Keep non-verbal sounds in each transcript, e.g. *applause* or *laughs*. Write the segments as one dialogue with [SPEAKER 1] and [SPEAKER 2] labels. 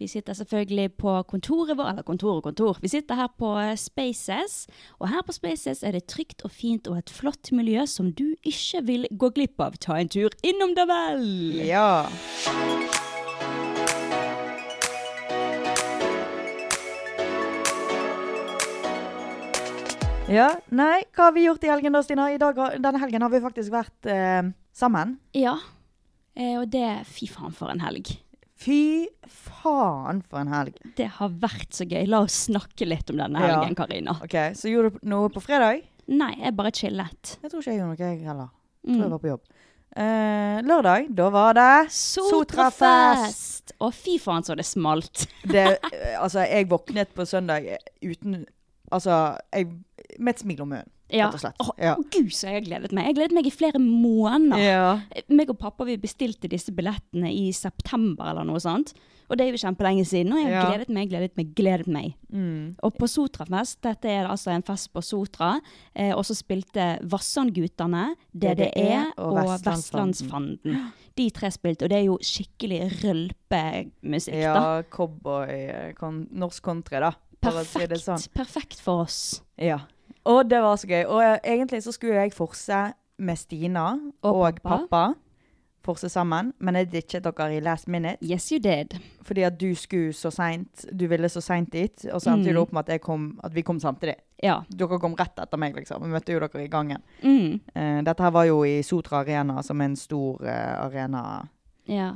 [SPEAKER 1] Vi sitter selvfølgelig på kontoret vårt, eller kontor og kontor. Vi sitter her på Spaces, og her på Spaces er det trygt og fint og et flott miljø som du ikke vil gå glipp av. Ta en tur innom da vel!
[SPEAKER 2] ja. Ja, nei, hva har vi gjort i helgen da, Stina? I dag, har- denne helgen har vi faktisk vært eh, sammen.
[SPEAKER 1] Ja, eh, og det Fy faen, for en helg.
[SPEAKER 2] Fy faen for en helg.
[SPEAKER 1] Det har vært så gøy. La oss snakke litt om denne
[SPEAKER 2] Ja.
[SPEAKER 1] helgen, Karina.
[SPEAKER 2] Ok, Så gjorde du noe på fredag?
[SPEAKER 1] Nei, jeg bare chillet.
[SPEAKER 2] Jeg tror ikke jeg gjorde noe, jeg heller. Jeg tror jeg
[SPEAKER 1] Mm.
[SPEAKER 2] var på jobb. Eh, lørdag, da var det
[SPEAKER 1] Sotrafest! Å, fy faen, så det smalt.
[SPEAKER 2] det, eh, altså, jeg våknet på søndag eh, uten Altså, jeg, med et smil om munnen,
[SPEAKER 1] Ja.
[SPEAKER 2] rett og slett.
[SPEAKER 1] Å,
[SPEAKER 2] Ja.
[SPEAKER 1] gud, så jeg har gledet meg. Jeg har gledet meg i flere måneder.
[SPEAKER 2] Ja.
[SPEAKER 1] meg og pappa vi bestilte disse billettene i september eller noe sånt. Og det er jo kjempelenge siden, og jeg har
[SPEAKER 2] Ja. Mm.
[SPEAKER 1] gledet meg, gledet meg, gledet meg. Og på Sotrafest, dette er altså en fest på Sotra, eh, og så spilte Vassandgutane, DDE og,
[SPEAKER 2] E Vestlandsfanden.
[SPEAKER 1] Vestlandsfanden. De tre spilte, og det er jo skikkelig rølpemusikk
[SPEAKER 2] ja
[SPEAKER 1] da.
[SPEAKER 2] cowboy eh, kon, Norsk country, da. for å si
[SPEAKER 1] Perfekt,
[SPEAKER 2] det sånn.
[SPEAKER 1] perfekt for oss.
[SPEAKER 2] Ja. Og det var så gøy. Og eh, egentlig så skulle jeg forse med Stina
[SPEAKER 1] Og
[SPEAKER 2] og,
[SPEAKER 1] pappa.
[SPEAKER 2] pappa. Forse sammen, men jeg ditchet dere i last minute.
[SPEAKER 1] Yes, you did.
[SPEAKER 2] Fordi at du skulle så seint. Du ville så seint dit. Og så endte
[SPEAKER 1] Mm.
[SPEAKER 2] det opp med at, jeg kom, at vi kom samtidig.
[SPEAKER 1] Ja.
[SPEAKER 2] Dere kom rett etter meg, liksom. Vi møtte jo dere i gangen.
[SPEAKER 1] Mm.
[SPEAKER 2] Eh, dette her var jo i Sotra Arena, som er en stor eh, arena.
[SPEAKER 1] Ja.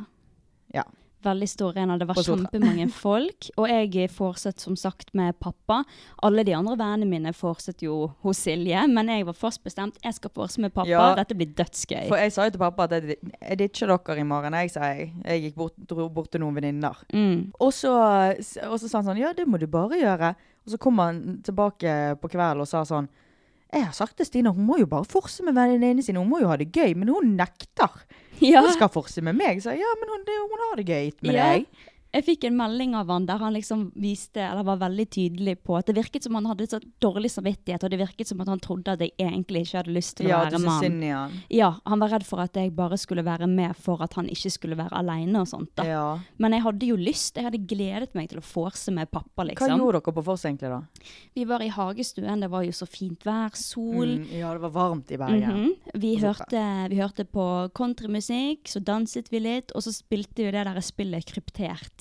[SPEAKER 2] Ja.
[SPEAKER 1] Veldig stor arena. Det var
[SPEAKER 2] På Sotra. *laughs*
[SPEAKER 1] kjempemange folk. Og jeg fortsatt som sagt med pappa. Alle de andre vennene mine fortsatt jo hos Silje, men jeg var fast bestemt. Jeg skal forse med pappa.
[SPEAKER 2] Ja.
[SPEAKER 1] Dette blir dødsgøy.
[SPEAKER 2] For jeg sa jo til pappa at jeg, jeg ditcher dere i morgen. Jeg sa jeg. Jeg gikk bort, dro bort til noen venninner.
[SPEAKER 1] Mm.
[SPEAKER 2] Og så og så sa han sånn Ja, det må du bare gjøre. Og så kom han tilbake på kvelden og sa sånn Jeg har sagt til Stina hun må jo bare forse med venninnene sine. Hun må jo ha det gøy. Men hun nekter.
[SPEAKER 1] Ja.
[SPEAKER 2] Hun skal forse med meg. Så jeg, ja, men hun, det, hun har det gøy med
[SPEAKER 1] Ja.
[SPEAKER 2] deg.
[SPEAKER 1] Jeg fikk en melding av han der han liksom viste, eller var veldig tydelig på at det virket som han hadde så dårlig samvittighet, og det virket som at han trodde at jeg egentlig ikke hadde lyst til å
[SPEAKER 2] Ja, du
[SPEAKER 1] være
[SPEAKER 2] syns
[SPEAKER 1] mann.
[SPEAKER 2] synd i han.
[SPEAKER 1] Ja, han var redd for at jeg bare skulle være med for at han ikke skulle være alene og sånt da.
[SPEAKER 2] Ja.
[SPEAKER 1] Men jeg hadde jo lyst, jeg hadde gledet meg til å forse med pappa,
[SPEAKER 2] Hva
[SPEAKER 1] liksom.
[SPEAKER 2] gjorde dere på vors egentlig, da?
[SPEAKER 1] Vi var i hagestuen, det var jo så fint vær, sol.
[SPEAKER 2] Mm, ja, det var varmt i Bergen.
[SPEAKER 1] Mhm. vi,
[SPEAKER 2] Og så-
[SPEAKER 1] hørte, vi hørte på countrymusikk, så danset vi litt, og så spilte vi det der spillet kryptert.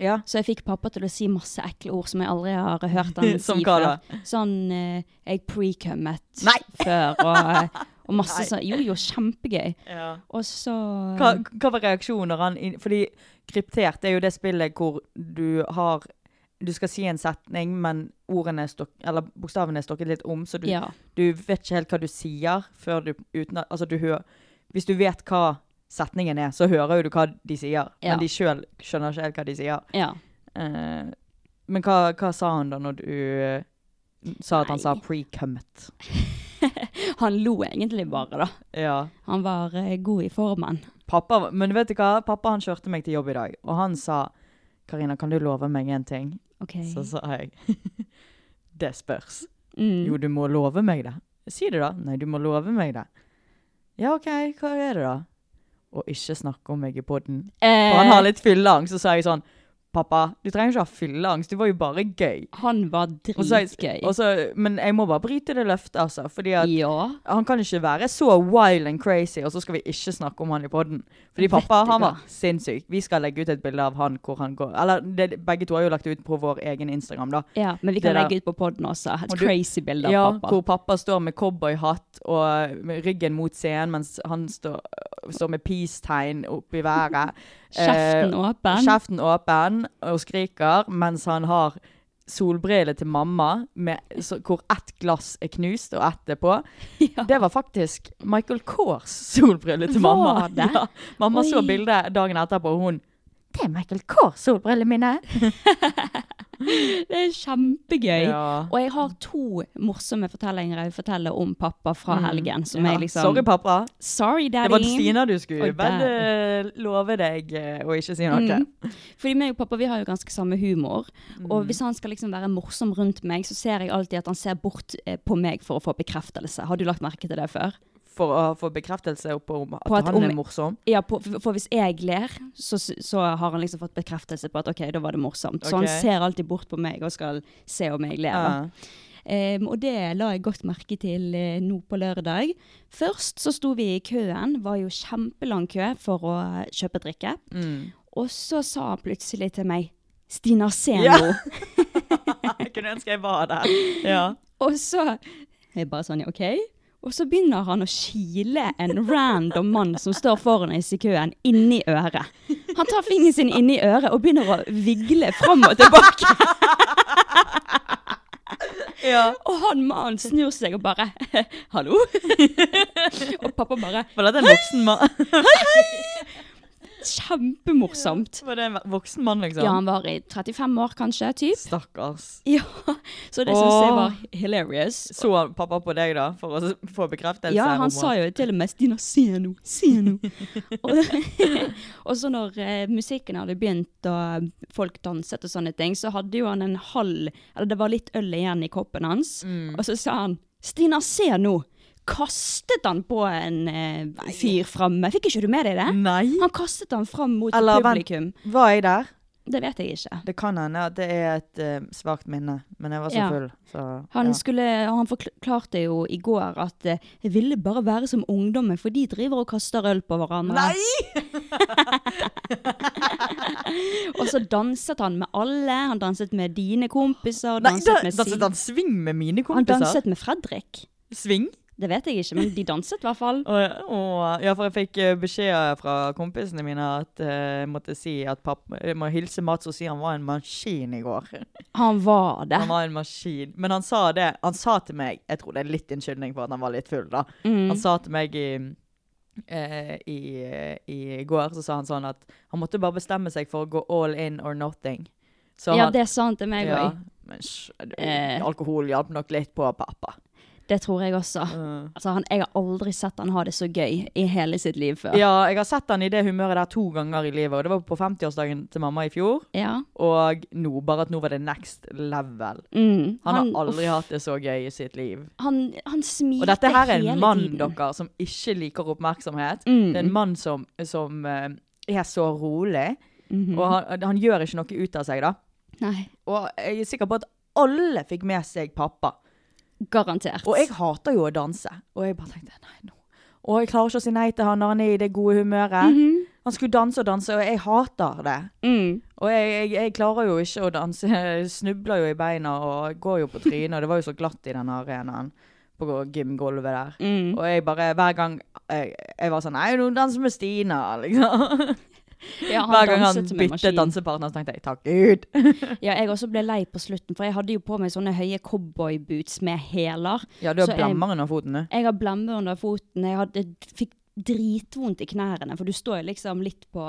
[SPEAKER 2] Ja.
[SPEAKER 1] Så jeg fikk pappa til å si masse ekle ord som jeg aldri har hørt
[SPEAKER 2] *laughs*
[SPEAKER 1] han
[SPEAKER 2] Som
[SPEAKER 1] si
[SPEAKER 2] hva
[SPEAKER 1] før. Sånn eh, 'jeg pre-cummet
[SPEAKER 2] Nei.
[SPEAKER 1] *laughs* før', og, og masse sånn. Jo, jo, kjempegøy. Og så
[SPEAKER 2] Hva, hva var reaksjonen når han inn- Fordi kryptert er jo det spillet hvor du har Du skal si en setning, men ordene er stok, eller bokstavene er stokket litt om, så du,
[SPEAKER 1] Ja.
[SPEAKER 2] du vet ikke helt hva du sier før du uten at Altså, du hører Hvis du vet hva setningen er, så hører jo du hva de sier.
[SPEAKER 1] Ja.
[SPEAKER 2] Men de sjøl skjønner ikke helt hva de sier.
[SPEAKER 1] Ja.
[SPEAKER 2] Eh, men hva, hva sa han da når du eh, sa at han sa
[SPEAKER 1] Nei.
[SPEAKER 2] pre-cummet?
[SPEAKER 1] Han lo egentlig bare, da.
[SPEAKER 2] Ja.
[SPEAKER 1] Han var eh, god i formen.
[SPEAKER 2] Pappa, var- men vet du hva? Pappa han kjørte meg til jobb i dag, og han sa Karina, kan du love meg en ting?
[SPEAKER 1] OK.
[SPEAKER 2] Så sa jeg *laughs* Det spørs.
[SPEAKER 1] Mm.
[SPEAKER 2] Jo, du må love meg det. Si det, da. Nei, du må love meg det. Ja, OK, hva er det, da? Å ikke snakke om meg i poden.
[SPEAKER 1] Eh,
[SPEAKER 2] For han har litt fylleangst, og så sa jeg sånn Pappa, du trenger ikke ha fylleangst, det var jo bare gøy.
[SPEAKER 1] han var
[SPEAKER 2] Og så,
[SPEAKER 1] dritgøy.
[SPEAKER 2] og så, men jeg må bare bryte det løftet, altså. Fordi at
[SPEAKER 1] Ja.
[SPEAKER 2] han kan ikke være så wild and crazy, og så skal vi ikke snakke om han i podden. Fordi pappa,
[SPEAKER 1] Vet du
[SPEAKER 2] han
[SPEAKER 1] hva?
[SPEAKER 2] var sinnssyk. Vi skal legge ut et bilde av han hvor han går. Eller det, begge to har jo lagt det ut på vår egen Instagram, da.
[SPEAKER 1] ja. Men vi kan
[SPEAKER 2] Det der-
[SPEAKER 1] legge ut på poden også. Et
[SPEAKER 2] Og du-
[SPEAKER 1] crazy bilde av
[SPEAKER 2] Ja,
[SPEAKER 1] pappa.
[SPEAKER 2] hvor pappa står med cowboyhatt og med ryggen mot scenen, mens han står, står med peace-tegn opp i *laughs* været. Eh,
[SPEAKER 1] Kjeften åpen.
[SPEAKER 2] Kjeften åpen og skriker, mens han har solbriller til mamma, med, så, hvor ett glass er knust og ett er på.
[SPEAKER 1] *laughs* Ja.
[SPEAKER 2] Det var faktisk Michael Kors solbrille til
[SPEAKER 1] Var
[SPEAKER 2] mamma.
[SPEAKER 1] det?
[SPEAKER 2] Ja, mamma så
[SPEAKER 1] Oi.
[SPEAKER 2] bildet dagen etterpå, og hun Det er Michael Kors solbrillene mine!
[SPEAKER 1] Det er kjempegøy.
[SPEAKER 2] Ja.
[SPEAKER 1] Og jeg har to morsomme fortellinger jeg vil fortelle om pappa fra helgen. Som
[SPEAKER 2] Mm. Ja.
[SPEAKER 1] jeg liksom
[SPEAKER 2] Sorry, pappa.
[SPEAKER 1] Sorry, daddy.
[SPEAKER 2] Det var Stina du skulle
[SPEAKER 1] Og
[SPEAKER 2] vel
[SPEAKER 1] der. Mm.
[SPEAKER 2] eh, love deg eh, å ikke si noe.
[SPEAKER 1] Fordi meg og pappa vi har jo ganske samme humor.
[SPEAKER 2] Mm.
[SPEAKER 1] Og hvis han skal liksom være morsom rundt meg, så ser jeg alltid at han ser bort eh, på meg for å få bekreftelse. Har du lagt merke til det før?
[SPEAKER 2] For å få bekreftelse på om at,
[SPEAKER 1] På at
[SPEAKER 2] han
[SPEAKER 1] om-
[SPEAKER 2] er morsom.
[SPEAKER 1] *laughs*
[SPEAKER 2] *laughs*
[SPEAKER 1] Ja, på, for for hvis jeg ler, så, s- så har han liksom fått bekreftelse på at OK, da var det morsomt. Så han
[SPEAKER 2] Ok.
[SPEAKER 1] ser alltid bort på meg og skal se om jeg ler. da.
[SPEAKER 2] Ja.
[SPEAKER 1] Em, og det la jeg godt merke til eh, nå på lørdag. Først så sto vi i køen, var jo kjempelang kø for å eh, kjøpe drikke.
[SPEAKER 2] Mm.
[SPEAKER 1] Og så sa han plutselig til meg Stina, se nå!
[SPEAKER 2] Ja. Jeg kunne ønske jeg var der. Ja.
[SPEAKER 1] Og så jeg bare sånn, ja, ok. Og så begynner han å kile en random mann som står foran oss i køen, inni øret. Han tar fingeren sin inni øret og begynner å vigle fram og tilbake.
[SPEAKER 2] Ja.
[SPEAKER 1] Og han mannen snur seg og bare 'hallo'. Og pappa bare
[SPEAKER 2] Var dette en voksen *laughs* mann?
[SPEAKER 1] 'kjempemorsomt'.
[SPEAKER 2] Var det en voksen mann, liksom?
[SPEAKER 1] Ja, han var i 35 år kanskje, typ.
[SPEAKER 2] Stakkars.
[SPEAKER 1] Ja, så det syns jeg var
[SPEAKER 2] Åh.
[SPEAKER 1] hilarious.
[SPEAKER 2] Så pappa på deg, da, for å s- få bekreftelse?
[SPEAKER 1] Ja, han sa jo til og med 'Stina, se nå, se nå'.
[SPEAKER 2] *laughs*
[SPEAKER 1] og, *laughs* og så når eh, musikken hadde begynt og folk danset og sånne ting, så hadde jo han en halv Eller det var litt øl igjen i koppen hans,
[SPEAKER 2] Mm.
[SPEAKER 1] og så sa han 'Stina, se nå'. Kastet han på en eh, fyr framme? Fikk ikke du med deg det?
[SPEAKER 2] Nei.
[SPEAKER 1] Han kastet han fram mot
[SPEAKER 2] Mm. Eller vent,
[SPEAKER 1] publikum.
[SPEAKER 2] var jeg der?
[SPEAKER 1] Det vet jeg ikke.
[SPEAKER 2] Det kan hende at det er et eh, svakt minne, men jeg var så
[SPEAKER 1] Ja.
[SPEAKER 2] full, så
[SPEAKER 1] Han,
[SPEAKER 2] ja.
[SPEAKER 1] skulle, han forklarte jo i går at eh, jeg ville bare være som ungdommen, for de driver og kaster øl på hverandre. og så danset han med alle. Han danset med dine kompiser.
[SPEAKER 2] Nei,
[SPEAKER 1] Danset
[SPEAKER 2] da,
[SPEAKER 1] med
[SPEAKER 2] danset
[SPEAKER 1] sin-
[SPEAKER 2] han sving med mine
[SPEAKER 1] han
[SPEAKER 2] kompiser?
[SPEAKER 1] danset med Fredrik.
[SPEAKER 2] Sving?
[SPEAKER 1] Det vet jeg ikke, men de danset i hvert fall.
[SPEAKER 2] Og, og, ja, for jeg fikk eh, beskjed fra kompisene mine at eh, jeg måtte si at pappa Jeg må hilse Mats og si han var en maskin i går.
[SPEAKER 1] Han var det.
[SPEAKER 2] Han var en maskin. Men han sa det Han sa til meg Jeg tror det er litt unnskyldning for at han var litt full, da.
[SPEAKER 1] Mm.
[SPEAKER 2] Han sa til meg i eh, i, I går så sa han sånn at han måtte bare bestemme seg for å gå all in or nothing. Så
[SPEAKER 1] ja,
[SPEAKER 2] han-
[SPEAKER 1] det sa han til meg
[SPEAKER 2] ja,
[SPEAKER 1] òg.
[SPEAKER 2] men sj-
[SPEAKER 1] Eh.
[SPEAKER 2] alkohol hjalp nok litt på pappa.
[SPEAKER 1] Det tror jeg også. Altså, han, jeg har aldri sett han ha det så gøy i hele sitt liv før.
[SPEAKER 2] Ja, jeg har sett han i det humøret der to ganger i livet, og det var på 50-årsdagen til mamma i fjor.
[SPEAKER 1] Ja.
[SPEAKER 2] Og nå, bare at nå var det next level.
[SPEAKER 1] Mm.
[SPEAKER 2] Han har
[SPEAKER 1] uff,
[SPEAKER 2] aldri hatt det så gøy i sitt liv.
[SPEAKER 1] han, han smilte
[SPEAKER 2] Og dette her er en
[SPEAKER 1] hele
[SPEAKER 2] mann,
[SPEAKER 1] tiden.
[SPEAKER 2] dere, som ikke liker oppmerksomhet.
[SPEAKER 1] Mm.
[SPEAKER 2] Det er en mann som, som eh, er så rolig,
[SPEAKER 1] Mhm.
[SPEAKER 2] og han, han gjør ikke noe ut av seg, da.
[SPEAKER 1] Nei,
[SPEAKER 2] Og jeg er sikker på at alle fikk med seg pappa.
[SPEAKER 1] garantert.
[SPEAKER 2] Og jeg hater jo å danse. Og jeg bare tenkte nei, nå. Og jeg klarer ikke å si nei til han når han er i det gode humøret.
[SPEAKER 1] Mhm.
[SPEAKER 2] Han skulle danse og danse, og jeg hater det.
[SPEAKER 1] mm.
[SPEAKER 2] Og jeg, jeg, jeg klarer jo ikke å danse. Jeg snubler jo i beina og går jo på trynet. Og det var jo så glatt i den arenaen på gymgulvet der.
[SPEAKER 1] Mm.
[SPEAKER 2] Og jeg bare, hver gang jeg, jeg var sånn Nei, nå danser med Stina, liksom.
[SPEAKER 1] Ja,
[SPEAKER 2] Hver gang han
[SPEAKER 1] danset som en
[SPEAKER 2] byttet
[SPEAKER 1] maskin.
[SPEAKER 2] dansepartner, så tenkte jeg takk Gud.
[SPEAKER 1] *laughs* Ja, jeg også ble lei på slutten, for jeg hadde jo på meg sånne høye cowboyboots med hæler.
[SPEAKER 2] Ja, du har
[SPEAKER 1] Så jeg-
[SPEAKER 2] blammeren av foten, du.
[SPEAKER 1] Jeg har blemmer under foten, jeg hadde, fikk dritvondt i knærne, for du står jo liksom litt på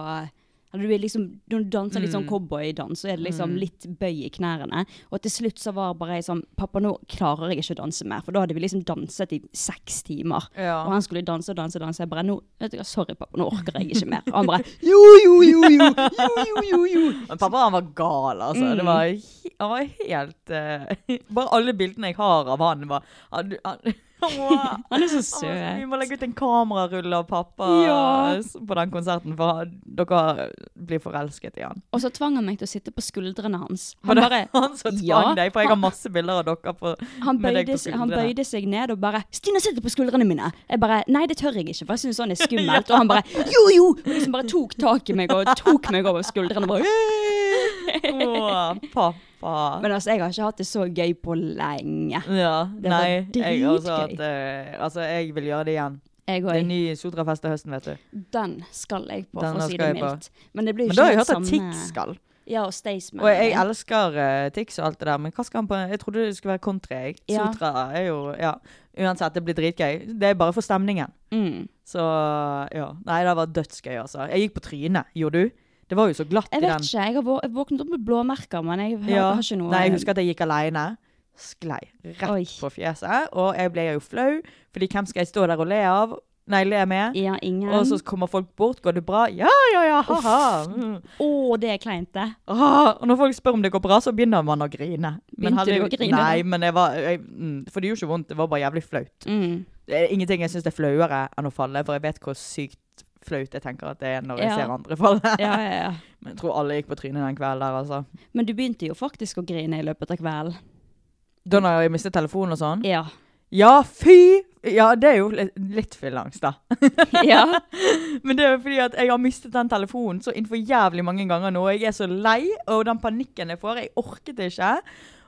[SPEAKER 1] eller du er liksom, Når du danser litt sånn
[SPEAKER 2] Mm.
[SPEAKER 1] cowboydans, så er det liksom litt bøy i knærne. Og til slutt så var bare jeg sånn Pappa, nå klarer jeg ikke å danse mer. For da hadde vi liksom danset i seks timer.
[SPEAKER 2] Ja.
[SPEAKER 1] Og han skulle danse og danse og danse. Jeg bare nå, vet du hva, Sorry, pappa, nå orker jeg ikke mer. Og han bare Jo, jo, jo, jo! jo, jo, jo, jo.
[SPEAKER 2] Men pappa han var gal, altså. Det var,
[SPEAKER 1] Mm.
[SPEAKER 2] he- han var helt eh, *laughs* Bare alle bildene jeg har av han, var Han, han, *laughs* han, var-
[SPEAKER 1] Han er så
[SPEAKER 2] han var- Vi
[SPEAKER 1] søt.
[SPEAKER 2] må legge ut en kamerarulle av pappa
[SPEAKER 1] Ja.
[SPEAKER 2] s- på den konserten, for han- dere blir forelsket i han.
[SPEAKER 1] Og så tvang han meg til å sitte på skuldrene hans.
[SPEAKER 2] Var
[SPEAKER 1] Han
[SPEAKER 2] det
[SPEAKER 1] bare
[SPEAKER 2] *laughs* han som tvang
[SPEAKER 1] Ja,
[SPEAKER 2] deg? For jeg har
[SPEAKER 1] han-
[SPEAKER 2] masse bilder av dere på,
[SPEAKER 1] han
[SPEAKER 2] med deg
[SPEAKER 1] bøyde,
[SPEAKER 2] på
[SPEAKER 1] seg- han
[SPEAKER 2] skuldrene.
[SPEAKER 1] bøyde seg ned og bare 'Stina, sitter på skuldrene mine!' Jeg bare 'Nei, det tør jeg ikke, for jeg syns
[SPEAKER 2] *laughs*
[SPEAKER 1] sånn er skummelt'. Og han bare 'Jo, jo!' Og liksom bare tok tak i meg og tok meg over skuldrene. og Bare, «Åh!»
[SPEAKER 2] Å, pappa.
[SPEAKER 1] Men altså, jeg har ikke hatt det så gøy på lenge.
[SPEAKER 2] ja,
[SPEAKER 1] var
[SPEAKER 2] nei, jeg, har også hatt,
[SPEAKER 1] dritgøy.
[SPEAKER 2] eh, altså, jeg vil gjøre det igjen.
[SPEAKER 1] Jeg
[SPEAKER 2] Det er
[SPEAKER 1] òg.
[SPEAKER 2] ny Sotrafest til høsten, vet du.
[SPEAKER 1] Den skal jeg på,
[SPEAKER 2] Den
[SPEAKER 1] for å
[SPEAKER 2] skal
[SPEAKER 1] si det
[SPEAKER 2] jeg på.
[SPEAKER 1] mildt. Men det blir jo
[SPEAKER 2] Men da har jeg
[SPEAKER 1] ikke
[SPEAKER 2] hørt
[SPEAKER 1] helt
[SPEAKER 2] at
[SPEAKER 1] samme-
[SPEAKER 2] Tix skal.
[SPEAKER 1] Ja, og Staysman.
[SPEAKER 2] Og jeg elsker eh, Tix og alt det der, men hva skal han på Jeg trodde det skulle være country. Jeg.
[SPEAKER 1] Ja.
[SPEAKER 2] Sotra er jo Ja. Uansett, det blir dritgøy. Det er bare for stemningen.
[SPEAKER 1] Mm.
[SPEAKER 2] Så ja. Nei, det var dødsgøy, altså. Jeg gikk på trynet. Gjorde du? Det var jo så glatt
[SPEAKER 1] Jeg
[SPEAKER 2] i
[SPEAKER 1] vet
[SPEAKER 2] den.
[SPEAKER 1] ikke. Jeg har vå- jeg våknet opp med blåmerker, men jeg har,
[SPEAKER 2] Ja.
[SPEAKER 1] har ikke noe
[SPEAKER 2] Nei, jeg husker at jeg gikk aleine. Sklei rett
[SPEAKER 1] Oi.
[SPEAKER 2] på fjeset. Og jeg ble jo flau, fordi hvem skal jeg stå der og le av? Nei, le med?
[SPEAKER 1] Ja, ingen.
[SPEAKER 2] Og så kommer folk bort. Går det bra? Ja, ja, ja, ha-ha. Mm.
[SPEAKER 1] Å, det er kleint,
[SPEAKER 2] *laughs*
[SPEAKER 1] det.
[SPEAKER 2] Ah, og når folk spør om det går bra, så begynner man å grine. Men
[SPEAKER 1] Begynte du å grine da?
[SPEAKER 2] Nei, men jeg var, jeg, mm, for det gjorde ikke vondt. Det var bare jævlig flaut.
[SPEAKER 1] Mm.
[SPEAKER 2] Det er ingenting jeg syns er flauere enn å falle, for jeg vet hvor sykt flaut jeg tenker at det er når jeg
[SPEAKER 1] Ja.
[SPEAKER 2] ser andre falle.
[SPEAKER 1] Ja, ja, ja.
[SPEAKER 2] *laughs* Men jeg tror alle gikk på trynet den kvelden der, altså.
[SPEAKER 1] Men du begynte jo faktisk å grine i løpet av kvelden.
[SPEAKER 2] Da når jeg mistet telefonen og sånn.
[SPEAKER 1] Ja.
[SPEAKER 2] Ja, fy! Ja, det er jo litt, litt fylleangst, da. *laughs*
[SPEAKER 1] ja.
[SPEAKER 2] Men det er jo fordi at jeg har mistet den telefonen så innenfor jævlig mange ganger nå. Jeg er så lei, og den panikken jeg får, jeg orket ikke.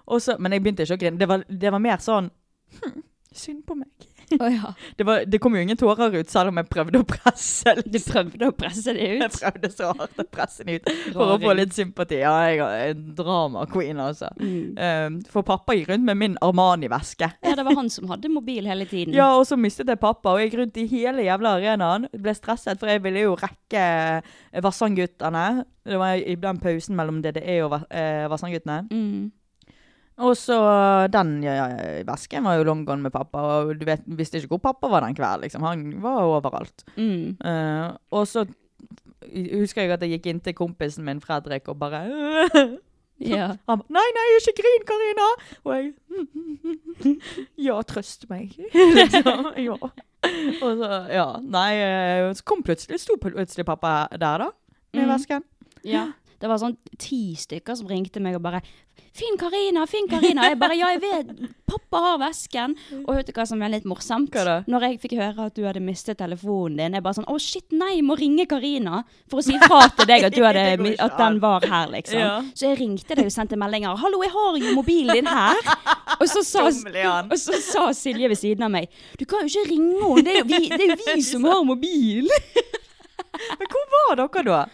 [SPEAKER 2] Og så, men jeg begynte ikke å grine. Det var, det var mer sånn «Hm, Synd på meg.
[SPEAKER 1] Å ja.
[SPEAKER 2] Det, var, det kom jo ingen tårer ut, selv om jeg prøvde å presse.
[SPEAKER 1] Du
[SPEAKER 2] Liksom.
[SPEAKER 1] prøvde å presse det
[SPEAKER 2] Jeg
[SPEAKER 1] ut.
[SPEAKER 2] prøvde så hardt å presse den ut for å få litt sympati. Ja, jeg er en drama-queen, altså.
[SPEAKER 1] Mm.
[SPEAKER 2] Um, for pappa gikk rundt med min Armani-veske.
[SPEAKER 1] Ja, det var han som hadde mobil hele tiden.
[SPEAKER 2] Ja, og så mistet jeg pappa, og jeg gikk rundt i hele jævla arenaen. Ble stresset, for jeg ville jo rekke eh, Vassandguttene. Det var i den pausen mellom DDE og Va- eh, Vassandguttene.
[SPEAKER 1] Mm.
[SPEAKER 2] Og så eh, den ja, ja, vesken var jo long gone med pappa, og du vet, visste ikke hvor pappa var den kvelden, liksom. Han var overalt.
[SPEAKER 1] Mm.
[SPEAKER 2] Eh, og så husker jeg at jeg gikk inn til kompisen min Fredrik og bare *laughs*
[SPEAKER 1] Ja.
[SPEAKER 2] Han ba, nei, nei, ikke grin, Karina! Og jeg *laughs* Ja, trøst meg. *laughs* liksom. Ja. Og så, ja. Nei, eh, så kom plutselig, sto plutselig pappa der, da. Med
[SPEAKER 1] Mm.
[SPEAKER 2] vesken.
[SPEAKER 1] ja. Det var sånn ti stykker som ringte meg og bare 'Finn Karina, Finn Karina'. Jeg bare 'Ja, jeg vet. Pappa har vesken'. Og vet du hva som er litt morsomt?
[SPEAKER 2] Mm. Hva da?
[SPEAKER 1] Når jeg fikk høre at du hadde mistet telefonen din, jeg bare sånn 'Å, shit, nei, jeg må ringe Karina' for å si fra til deg at, du hadde,
[SPEAKER 2] *laughs* Det går ikke
[SPEAKER 1] at den
[SPEAKER 2] an.
[SPEAKER 1] var her, liksom.
[SPEAKER 2] Ja.
[SPEAKER 1] Så jeg ringte deg og sendte meldinger. 'Hallo, jeg har jo mobilen din her'. Og så sa,
[SPEAKER 2] Dumme Leon.
[SPEAKER 1] og så sa Silje ved siden av meg 'Du kan jo ikke ringe henne, det er jo vi, det
[SPEAKER 2] *laughs*
[SPEAKER 1] er jo vi som har mobil'.
[SPEAKER 2] Men hvor var dere da?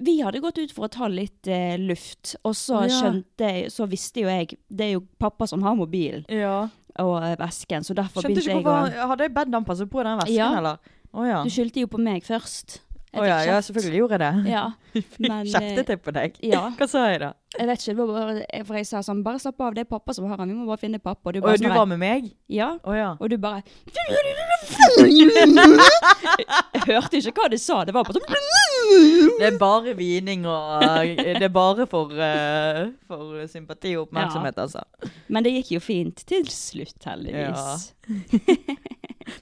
[SPEAKER 1] Vi hadde gått ut for å ta litt eh, luft, og så
[SPEAKER 2] Ja.
[SPEAKER 1] skjønte jeg, så visste jo jeg Det er jo pappa som har mobilen
[SPEAKER 2] Ja.
[SPEAKER 1] og eh, vesken, så derfor
[SPEAKER 2] Skjønte ikke
[SPEAKER 1] begynte jeg
[SPEAKER 2] hvorfor
[SPEAKER 1] å
[SPEAKER 2] Hadde jeg bedt han passe på den vesken,
[SPEAKER 1] Ja.
[SPEAKER 2] eller? Å ja.
[SPEAKER 1] Du skyldte jo på meg først. Jeg
[SPEAKER 2] Å ja,
[SPEAKER 1] fikk
[SPEAKER 2] ja,
[SPEAKER 1] kjeft.
[SPEAKER 2] selvfølgelig gjorde jeg det.
[SPEAKER 1] *laughs*
[SPEAKER 2] *laughs*
[SPEAKER 1] Ja, men eh,
[SPEAKER 2] Kjeftet jeg på deg?
[SPEAKER 1] ja.
[SPEAKER 2] Hva sa jeg da?
[SPEAKER 1] jeg vet ikke, det var bare, for jeg sa sånn Bare slapp av, det er pappa som har han, vi må bare finne pappa. Og du
[SPEAKER 2] Å
[SPEAKER 1] bare
[SPEAKER 2] ja, du
[SPEAKER 1] sånn
[SPEAKER 2] var med meg?
[SPEAKER 1] Ja.
[SPEAKER 2] Å ja.
[SPEAKER 1] Og
[SPEAKER 2] *laughs*
[SPEAKER 1] du bare Jeg hørte ikke hva du sa, det var bare sånn
[SPEAKER 2] Det er bare vining og Det er bare for, eh, for sympati og oppmerksomhet, altså.
[SPEAKER 1] *laughs* Men det gikk jo fint til slutt, heldigvis.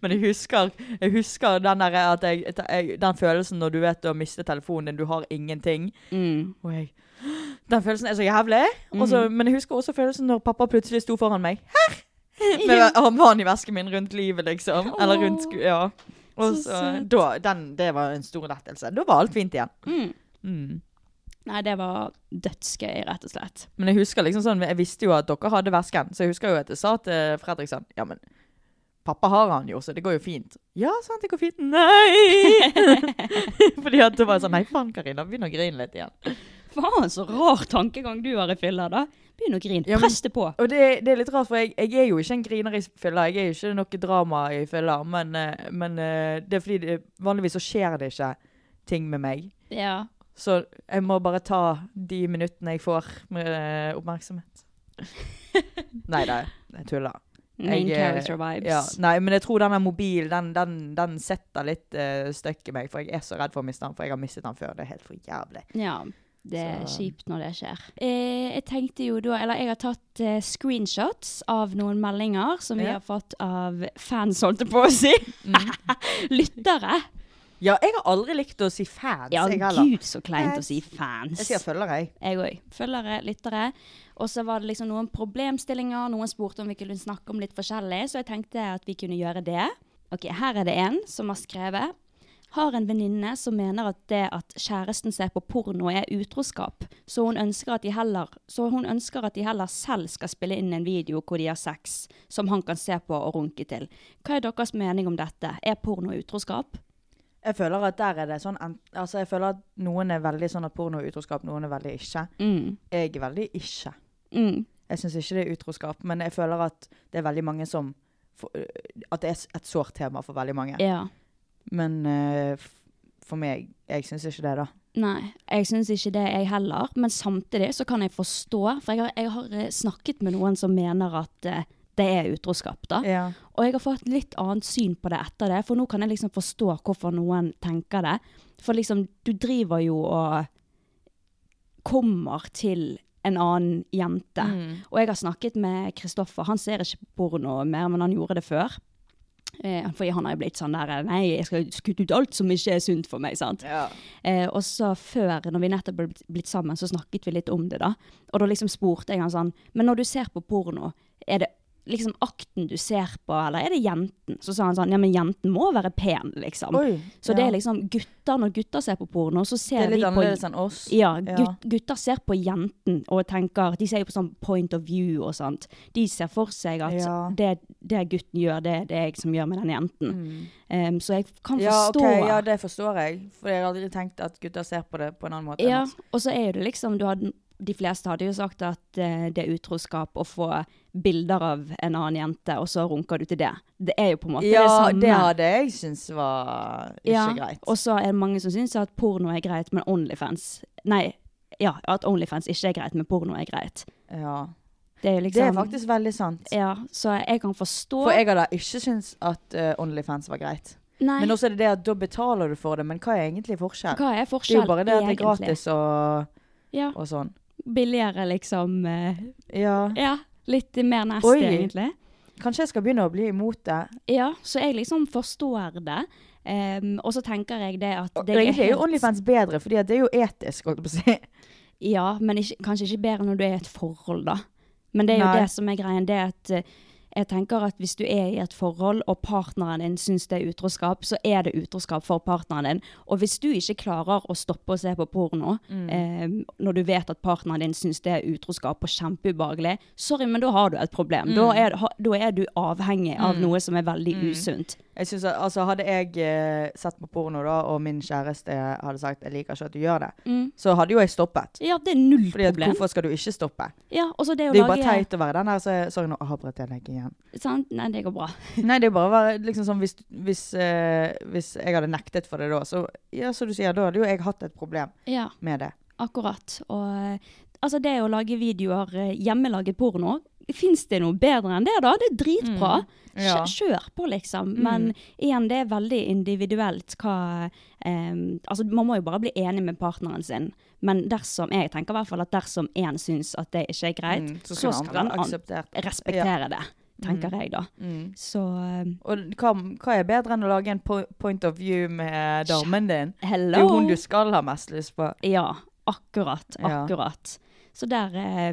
[SPEAKER 2] Men jeg husker, jeg husker den, der at jeg, at jeg, den følelsen når du vet du har mistet telefonen din, du har ingenting.
[SPEAKER 1] Mm.
[SPEAKER 2] Og jeg, den følelsen er så jævlig. Og så- men jeg husker også følelsen når pappa plutselig sto foran
[SPEAKER 1] *laughs*
[SPEAKER 2] meg. Her! Med armene i vesken min rundt livet, liksom. Eller rundt sku... Ja. Og
[SPEAKER 1] Så
[SPEAKER 2] så,
[SPEAKER 1] søt.
[SPEAKER 2] da, den, det var en stor lettelse. Da var alt fint igjen.
[SPEAKER 1] Mm.
[SPEAKER 2] Mm.
[SPEAKER 1] Nei, det var dødsgøy, rett og slett.
[SPEAKER 2] Men jeg husker liksom sånn, jeg visste jo at dere hadde vesken, så jeg husker jo at jeg sa til Fredrik sånn, ja, men pappa har han jo, så det går jo fint. Ja, sant, det går fint. Nei! Fordi at det var sånn, nei, faen, Karina, begynn å grine litt igjen.
[SPEAKER 1] Faen, så rar tankegang du har i fylla, da. Begynn å grine.
[SPEAKER 2] Ja, men-
[SPEAKER 1] Press det på.
[SPEAKER 2] Og det, det er litt rart, for jeg, jeg er jo ikke en griner i fylla. Jeg er jo ikke noe drama i fylla. Men, eh, men eh, det er fordi det, vanligvis så skjer det ikke ting med meg.
[SPEAKER 1] Ja.
[SPEAKER 2] Så jeg må bare ta de minuttene jeg får med eh, oppmerksomhet. Nei da, jeg tuller.
[SPEAKER 1] Main
[SPEAKER 2] Jeg, eh,
[SPEAKER 1] character vibes.
[SPEAKER 2] Ja, nei, men jeg tror denne mobilen, den, den, den setter litt uh, støkk i meg. For jeg er så redd for å miste den, for jeg har mistet den før. Det er helt for jævlig.
[SPEAKER 1] Ja, det er
[SPEAKER 2] Så-
[SPEAKER 1] kjipt når det skjer. Eh, jeg tenkte jo da, eller jeg har tatt eh, screenshots av noen meldinger som vi
[SPEAKER 2] Ja. Mm.
[SPEAKER 1] har fått av fans, holdt jeg på å si. *laughs* Lyttere.
[SPEAKER 2] Ja, jeg har aldri likt å si fans,
[SPEAKER 1] Ja,
[SPEAKER 2] jeg heller.
[SPEAKER 1] gud så kleint å si
[SPEAKER 2] Jeg
[SPEAKER 1] fans.
[SPEAKER 2] sier følgere, jeg.
[SPEAKER 1] Jeg òg. Følgere, lyttere. Og så var det liksom noen problemstillinger. Noen spurte om vi kunne snakke om litt forskjellig, så jeg tenkte at vi kunne gjøre det. Ok, Her er det en som har skrevet. Har en venninne som mener at det at kjæresten ser på porno er utroskap, så hun ønsker at de heller, så hun ønsker at de heller selv skal spille inn en video hvor de har sex, som han kan se på og runke til. Hva er deres mening om dette? Er porno utroskap?
[SPEAKER 2] Jeg føler at der er det sånn en- Altså, jeg føler at noen er veldig sånn at porno er utroskap, noen er veldig ikke.
[SPEAKER 1] Mm.
[SPEAKER 2] Jeg er veldig ikke.
[SPEAKER 1] Mm.
[SPEAKER 2] Jeg syns ikke det er utroskap, men jeg føler at det er veldig mange som får- At det er et sårt tema for veldig mange.
[SPEAKER 1] Ja.
[SPEAKER 2] Men eh, f- for meg Jeg syns ikke det, da.
[SPEAKER 1] Nei, jeg syns ikke det, jeg heller. Men samtidig så kan jeg forstå, for jeg har, jeg har eh, snakket med noen som mener at eh, det er utroskap, da.
[SPEAKER 2] Ja.
[SPEAKER 1] Og jeg har fått litt annet syn på det etter det, for nå kan jeg liksom forstå hvorfor noen tenker det. For liksom, du driver jo og kommer til en annen jente.
[SPEAKER 2] Mm.
[SPEAKER 1] Og jeg har snakket med Kristoffer, han ser ikke på porno mer, men han gjorde det før. Eh, fordi han har jo blitt sånn der Nei, jeg skal skutte ut alt som ikke er sunt for meg, sant. Eh, og så før, når vi nettopp ble blitt- blitt sammen, så snakket vi litt om det da. Og da liksom spurte jeg han sånn, men når du ser på porno, er det liksom akten du ser på, eller er det jenten? Så sa han sånn, ja, men jenten må være pen, liksom.
[SPEAKER 2] Oi,
[SPEAKER 1] så det
[SPEAKER 2] ja.
[SPEAKER 1] er liksom gutter, når gutter ser på porno, så
[SPEAKER 2] Det sånn,
[SPEAKER 1] ser
[SPEAKER 2] er litt
[SPEAKER 1] de på...
[SPEAKER 2] annerledes enn oss.
[SPEAKER 1] Ja,
[SPEAKER 2] Ja.
[SPEAKER 1] gut, gutter ser på jenten og tenker, de ser jo på sånn point of view og sånt. De ser for seg at
[SPEAKER 2] Ja.
[SPEAKER 1] det, det gutten gjør, det er det jeg som gjør med den jenten. Em, så jeg kan forstå...
[SPEAKER 2] Mm. Ja, ok, ja, det Sånn forstår jeg. For jeg har aldri tenkt at gutter ser på det på en annen måte. enn
[SPEAKER 1] Ja,
[SPEAKER 2] oss.
[SPEAKER 1] og så er jo det liksom du hadde, De fleste hadde jo sagt at eh, det er utroskap å få bilder av en annen jente, og så runker du til det. Det er jo på en måte det
[SPEAKER 2] ja
[SPEAKER 1] samme.
[SPEAKER 2] det hadde jeg syntes var ikke
[SPEAKER 1] Ja,
[SPEAKER 2] greit.
[SPEAKER 1] Og så er det mange som syns at porno er greit, men Onlyfans Nei, ja, at Onlyfans ikke er greit, men porno er greit.
[SPEAKER 2] ja.
[SPEAKER 1] Det er jo
[SPEAKER 2] Det
[SPEAKER 1] liksom
[SPEAKER 2] er faktisk veldig sant.
[SPEAKER 1] Ja, så jeg kan forstå
[SPEAKER 2] For jeg hadde ikke syntes at eh, Onlyfans var greit.
[SPEAKER 1] Nei,
[SPEAKER 2] Men også er det det at da betaler du for det, men hva er egentlig forskjell?
[SPEAKER 1] hva er
[SPEAKER 2] det er jo
[SPEAKER 1] forskjellen
[SPEAKER 2] bare det at det er
[SPEAKER 1] egentlig?
[SPEAKER 2] gratis og,
[SPEAKER 1] Ja,
[SPEAKER 2] og sånn.
[SPEAKER 1] billigere, liksom. eh,
[SPEAKER 2] Ja.
[SPEAKER 1] ja, litt mer nasty,
[SPEAKER 2] Oi.
[SPEAKER 1] egentlig.
[SPEAKER 2] Kanskje jeg skal begynne å bli imot det.
[SPEAKER 1] Ja, så jeg liksom forstår det. Em, og så tenker jeg det at
[SPEAKER 2] Og
[SPEAKER 1] det
[SPEAKER 2] egentlig er jo Onlyfans bedre, fordi at det er jo etisk, holdt jeg på å si.
[SPEAKER 1] Ja, men ikke, kanskje ikke bedre når du er i et forhold, da. Men det er jo
[SPEAKER 2] Nei.
[SPEAKER 1] det som er greien. Det er at eh, jeg tenker at hvis du er i et forhold, og partneren din syns det er utroskap, så er det utroskap for partneren din. Og hvis du ikke klarer å stoppe å se på porno,
[SPEAKER 2] Mm.
[SPEAKER 1] em, når du vet at partneren din syns det er utroskap og kjempeubehagelig, sorry, men da har du et problem. Da,
[SPEAKER 2] Mm.
[SPEAKER 1] er, ha- da er du avhengig av noe som er veldig usunt.
[SPEAKER 2] Jeg synes at, altså, hadde jeg eh, sett på porno da, og min kjæreste hadde sagt 'jeg liker ikke at du gjør det', så hadde jo jeg stoppet.
[SPEAKER 1] Ja, det er null
[SPEAKER 2] Fordi at
[SPEAKER 1] Mm. problem.
[SPEAKER 2] hvorfor skal du ikke stoppe?
[SPEAKER 1] Ja, og så det å
[SPEAKER 2] Det er jo bare
[SPEAKER 1] lage-
[SPEAKER 2] teit å være den der, så sorry, nå avbrøt jeg deg igjen. *laughs*
[SPEAKER 1] Sant? Nei, det går bra.
[SPEAKER 2] Nei, det er bare å være liksom sånn hvis, hvis, eh, hvis jeg hadde nektet for det da, så ja, som du sier, da hadde jo jeg hatt et problem
[SPEAKER 1] Ja,
[SPEAKER 2] med det.
[SPEAKER 1] akkurat. Og eh, altså, det å lage videoer, eh, hjemmelaget porno, fins det noe bedre enn det, da? Det er dritbra. Kjø-
[SPEAKER 2] Mm. ja. Mm.
[SPEAKER 1] Kjør på, liksom. Men igjen, det er veldig individuelt hva eh, Altså, man må jo bare bli enig med partneren sin. Men dersom, jeg tenker i hvert fall at dersom én syns at det ikke er greit,
[SPEAKER 2] Mm,
[SPEAKER 1] så,
[SPEAKER 2] så skal den
[SPEAKER 1] skal
[SPEAKER 2] andre
[SPEAKER 1] den an
[SPEAKER 2] akseptere det.
[SPEAKER 1] respektere det. Tenker jeg, da.
[SPEAKER 2] Mm.
[SPEAKER 1] Så eh,
[SPEAKER 2] Og hva, hva er bedre enn å lage en po point of view med damen din? Det er
[SPEAKER 1] hello!
[SPEAKER 2] jo hun du skal ha mest lyst på.
[SPEAKER 1] Ja, akkurat,
[SPEAKER 2] Ja.
[SPEAKER 1] akkurat. Så der eh,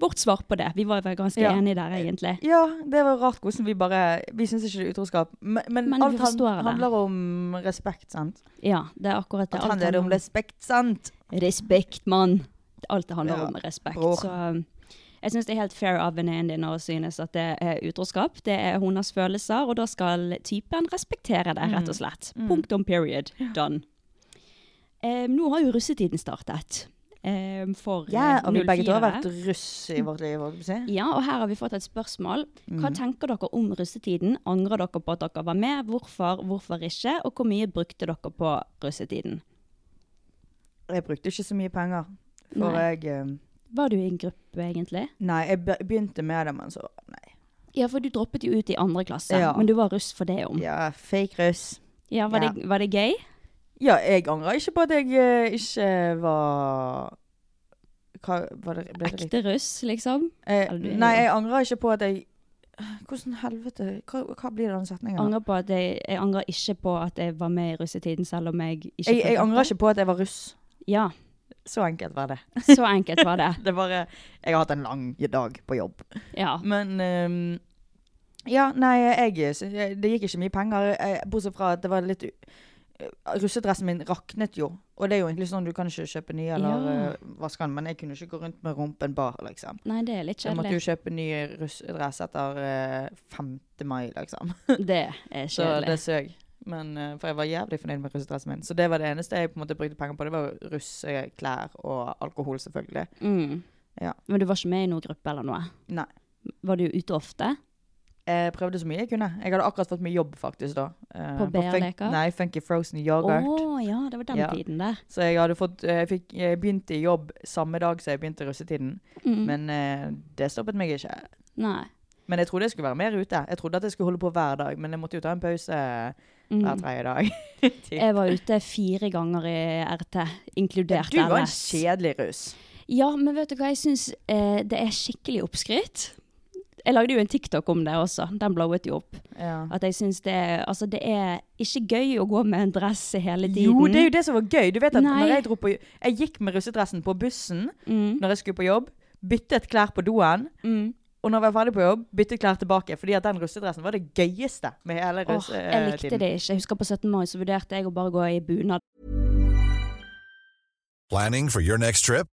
[SPEAKER 1] Vårt svar på det. Vi var vel ganske
[SPEAKER 2] Ja.
[SPEAKER 1] enige der, egentlig.
[SPEAKER 2] Ja, det var rart hvordan vi bare Vi syns ikke det er utroskap. Men, men,
[SPEAKER 1] Men vi
[SPEAKER 2] alt han,
[SPEAKER 1] forstår det.
[SPEAKER 2] handler om respekt, sant?
[SPEAKER 1] Ja, det er akkurat det.
[SPEAKER 2] Alt handler om respekt, sant?
[SPEAKER 1] respekt, mann. Alt det handler
[SPEAKER 2] Ja,
[SPEAKER 1] om respekt.
[SPEAKER 2] bror.
[SPEAKER 1] Så um, jeg syns det er helt fair av venninnen din å synes at det er utroskap. Det er hennes følelser, og da skal typen respektere det,
[SPEAKER 2] Mm.
[SPEAKER 1] rett og Eh, slett. Punktum period. Done. Em, nå har jo russetiden startet. eh, for eh,
[SPEAKER 2] Ja, og vi
[SPEAKER 1] 04-ere.
[SPEAKER 2] begge to har vært russ i vårt liv. holdt jeg på å si.
[SPEAKER 1] Ja, og her har vi fått et spørsmål.
[SPEAKER 2] Mhm.
[SPEAKER 1] Hva tenker dere om russetiden? Angrer dere på at dere var med? Hvorfor, hvorfor ikke? Og hvor mye brukte dere på russetiden?
[SPEAKER 2] Jeg brukte ikke så mye penger. For
[SPEAKER 1] Nei.
[SPEAKER 2] jeg eh,
[SPEAKER 1] Var du i en gruppe, egentlig?
[SPEAKER 2] Nei, jeg be- begynte med altså. det, men så Nei.
[SPEAKER 1] Ja, for du droppet jo ut i andre klasse,
[SPEAKER 2] Ja.
[SPEAKER 1] men du var russ for det om. Ja,
[SPEAKER 2] Ja, fake russ.
[SPEAKER 1] var,
[SPEAKER 2] Ja.
[SPEAKER 1] Det, var det gøy?
[SPEAKER 2] Ja, jeg angrer ikke på at jeg eh, ikke var Hva var det, ble det riktig?
[SPEAKER 1] Ekte russ, liksom?
[SPEAKER 2] Eh,
[SPEAKER 1] Eller du er
[SPEAKER 2] nei,
[SPEAKER 1] jo-
[SPEAKER 2] jeg angrer ikke på at jeg Hvordan helvete Hva, hva blir den setningen? da?
[SPEAKER 1] Angrer på at jeg, jeg angrer ikke på at jeg var med i russetiden, selv om jeg ikke
[SPEAKER 2] Jeg, jeg
[SPEAKER 1] fullførte.
[SPEAKER 2] angrer ikke på at jeg var russ.
[SPEAKER 1] Ja,
[SPEAKER 2] Så enkelt var det.
[SPEAKER 1] så enkelt var det.
[SPEAKER 2] Det er bare Jeg har hatt en lang dag på jobb.
[SPEAKER 1] Ja.
[SPEAKER 2] *laughs* Men ehm, Ja, nei, jeg sy- Det gikk ikke mye penger. eh, Bortsett fra at det var litt u- eh, Russedressen min raknet jo. Og det er jo egentlig sånn du kan ikke kjøpe ny eller
[SPEAKER 1] Ja.
[SPEAKER 2] eh, vaske den, men jeg kunne ikke gå rundt med rumpen bar, liksom.
[SPEAKER 1] Nei, det er litt
[SPEAKER 2] Så jeg måtte jo
[SPEAKER 1] kjedelig.
[SPEAKER 2] kjøpe ny russedress etter eh, 5. mai,
[SPEAKER 1] *laughs*
[SPEAKER 2] liksom.
[SPEAKER 1] Det er
[SPEAKER 2] Så det
[SPEAKER 1] kjedelig.
[SPEAKER 2] søg. Men, eh, for jeg var jævlig fornøyd med russedressen min. Så det var det eneste jeg på en måte brukte penger på. Det var jo russeklær og alkohol, selvfølgelig.
[SPEAKER 1] Mm.
[SPEAKER 2] Ja.
[SPEAKER 1] Men du var ikke med i noen gruppe eller noe?
[SPEAKER 2] Nei.
[SPEAKER 1] Var du ute ofte?
[SPEAKER 2] Jeg prøvde så mye jeg kunne. Jeg hadde akkurat fått meg jobb faktisk da. Eh,
[SPEAKER 1] På E
[SPEAKER 2] fun-
[SPEAKER 1] BR-leker?
[SPEAKER 2] Nei, Funky Frozen
[SPEAKER 1] Å
[SPEAKER 2] Yoghurt.
[SPEAKER 1] ja, det var den
[SPEAKER 2] Ja.
[SPEAKER 1] tiden der.
[SPEAKER 2] Så jeg, hadde fått, eh, jeg, fikk, jeg begynte i jobb samme dag som jeg begynte russetiden.
[SPEAKER 1] Mm.
[SPEAKER 2] Men eh, det stoppet meg ikke.
[SPEAKER 1] Nei.
[SPEAKER 2] Men jeg trodde jeg skulle være mer ute. Jeg trodde at jeg skulle holde på hver dag, men jeg måtte jo ta en pause hver
[SPEAKER 1] Mm.
[SPEAKER 2] tredje dag.
[SPEAKER 1] Jeg var ute fire ganger i RT,
[SPEAKER 2] *laughs*
[SPEAKER 1] inkludert
[SPEAKER 2] Du var en
[SPEAKER 1] LS.
[SPEAKER 2] kjedelig russ.
[SPEAKER 1] Ja, men vet du hva, jeg syns eh, det er skikkelig oppskrytt. Jeg lagde jo en TikTok om det også, den blowet jo opp.
[SPEAKER 2] Ja.
[SPEAKER 1] At jeg syns det Altså, det er ikke gøy å gå med en dress hele tiden.
[SPEAKER 2] Jo, det er jo det som var gøy. Du vet at
[SPEAKER 1] Nei.
[SPEAKER 2] når jeg, dro på, jeg gikk med russedressen på bussen
[SPEAKER 1] Mm,
[SPEAKER 2] når jeg skulle på jobb, byttet klær på doen,
[SPEAKER 1] mm.
[SPEAKER 2] Og når jeg var ferdig på jobb, byttet klær tilbake. Fordi at den russedressen var det gøyeste med hele eh,
[SPEAKER 1] Åh,
[SPEAKER 2] russetiden.
[SPEAKER 1] jeg likte det ikke. Jeg husker på 17. mai så vurderte jeg å bare gå i bunad.
[SPEAKER 3] Planning for your next trip?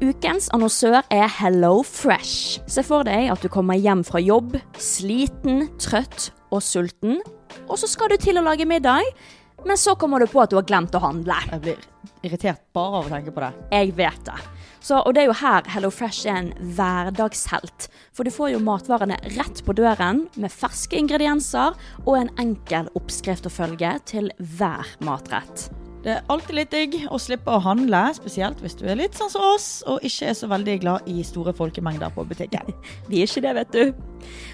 [SPEAKER 1] Ukens annonsør er Hello Fresh. Se for deg at du kommer hjem fra jobb, sliten, trøtt og sulten. Og så skal du til å lage middag, men så kommer du på at du har glemt å handle.
[SPEAKER 2] Jeg blir irritert bare av å tenke på det.
[SPEAKER 1] Jeg vet det. Så, og det er jo her Hello Fresh er en hverdagshelt. For du får jo matvarene rett på døren med ferske ingredienser og en enkel oppskrift å følge til hver matrett.
[SPEAKER 2] Det er alltid litt digg å slippe å handle, spesielt hvis du er litt sånn som oss, og ikke er så veldig glad i store folkemengder på *laughs* butikken.
[SPEAKER 1] Vi er ikke det, vet du.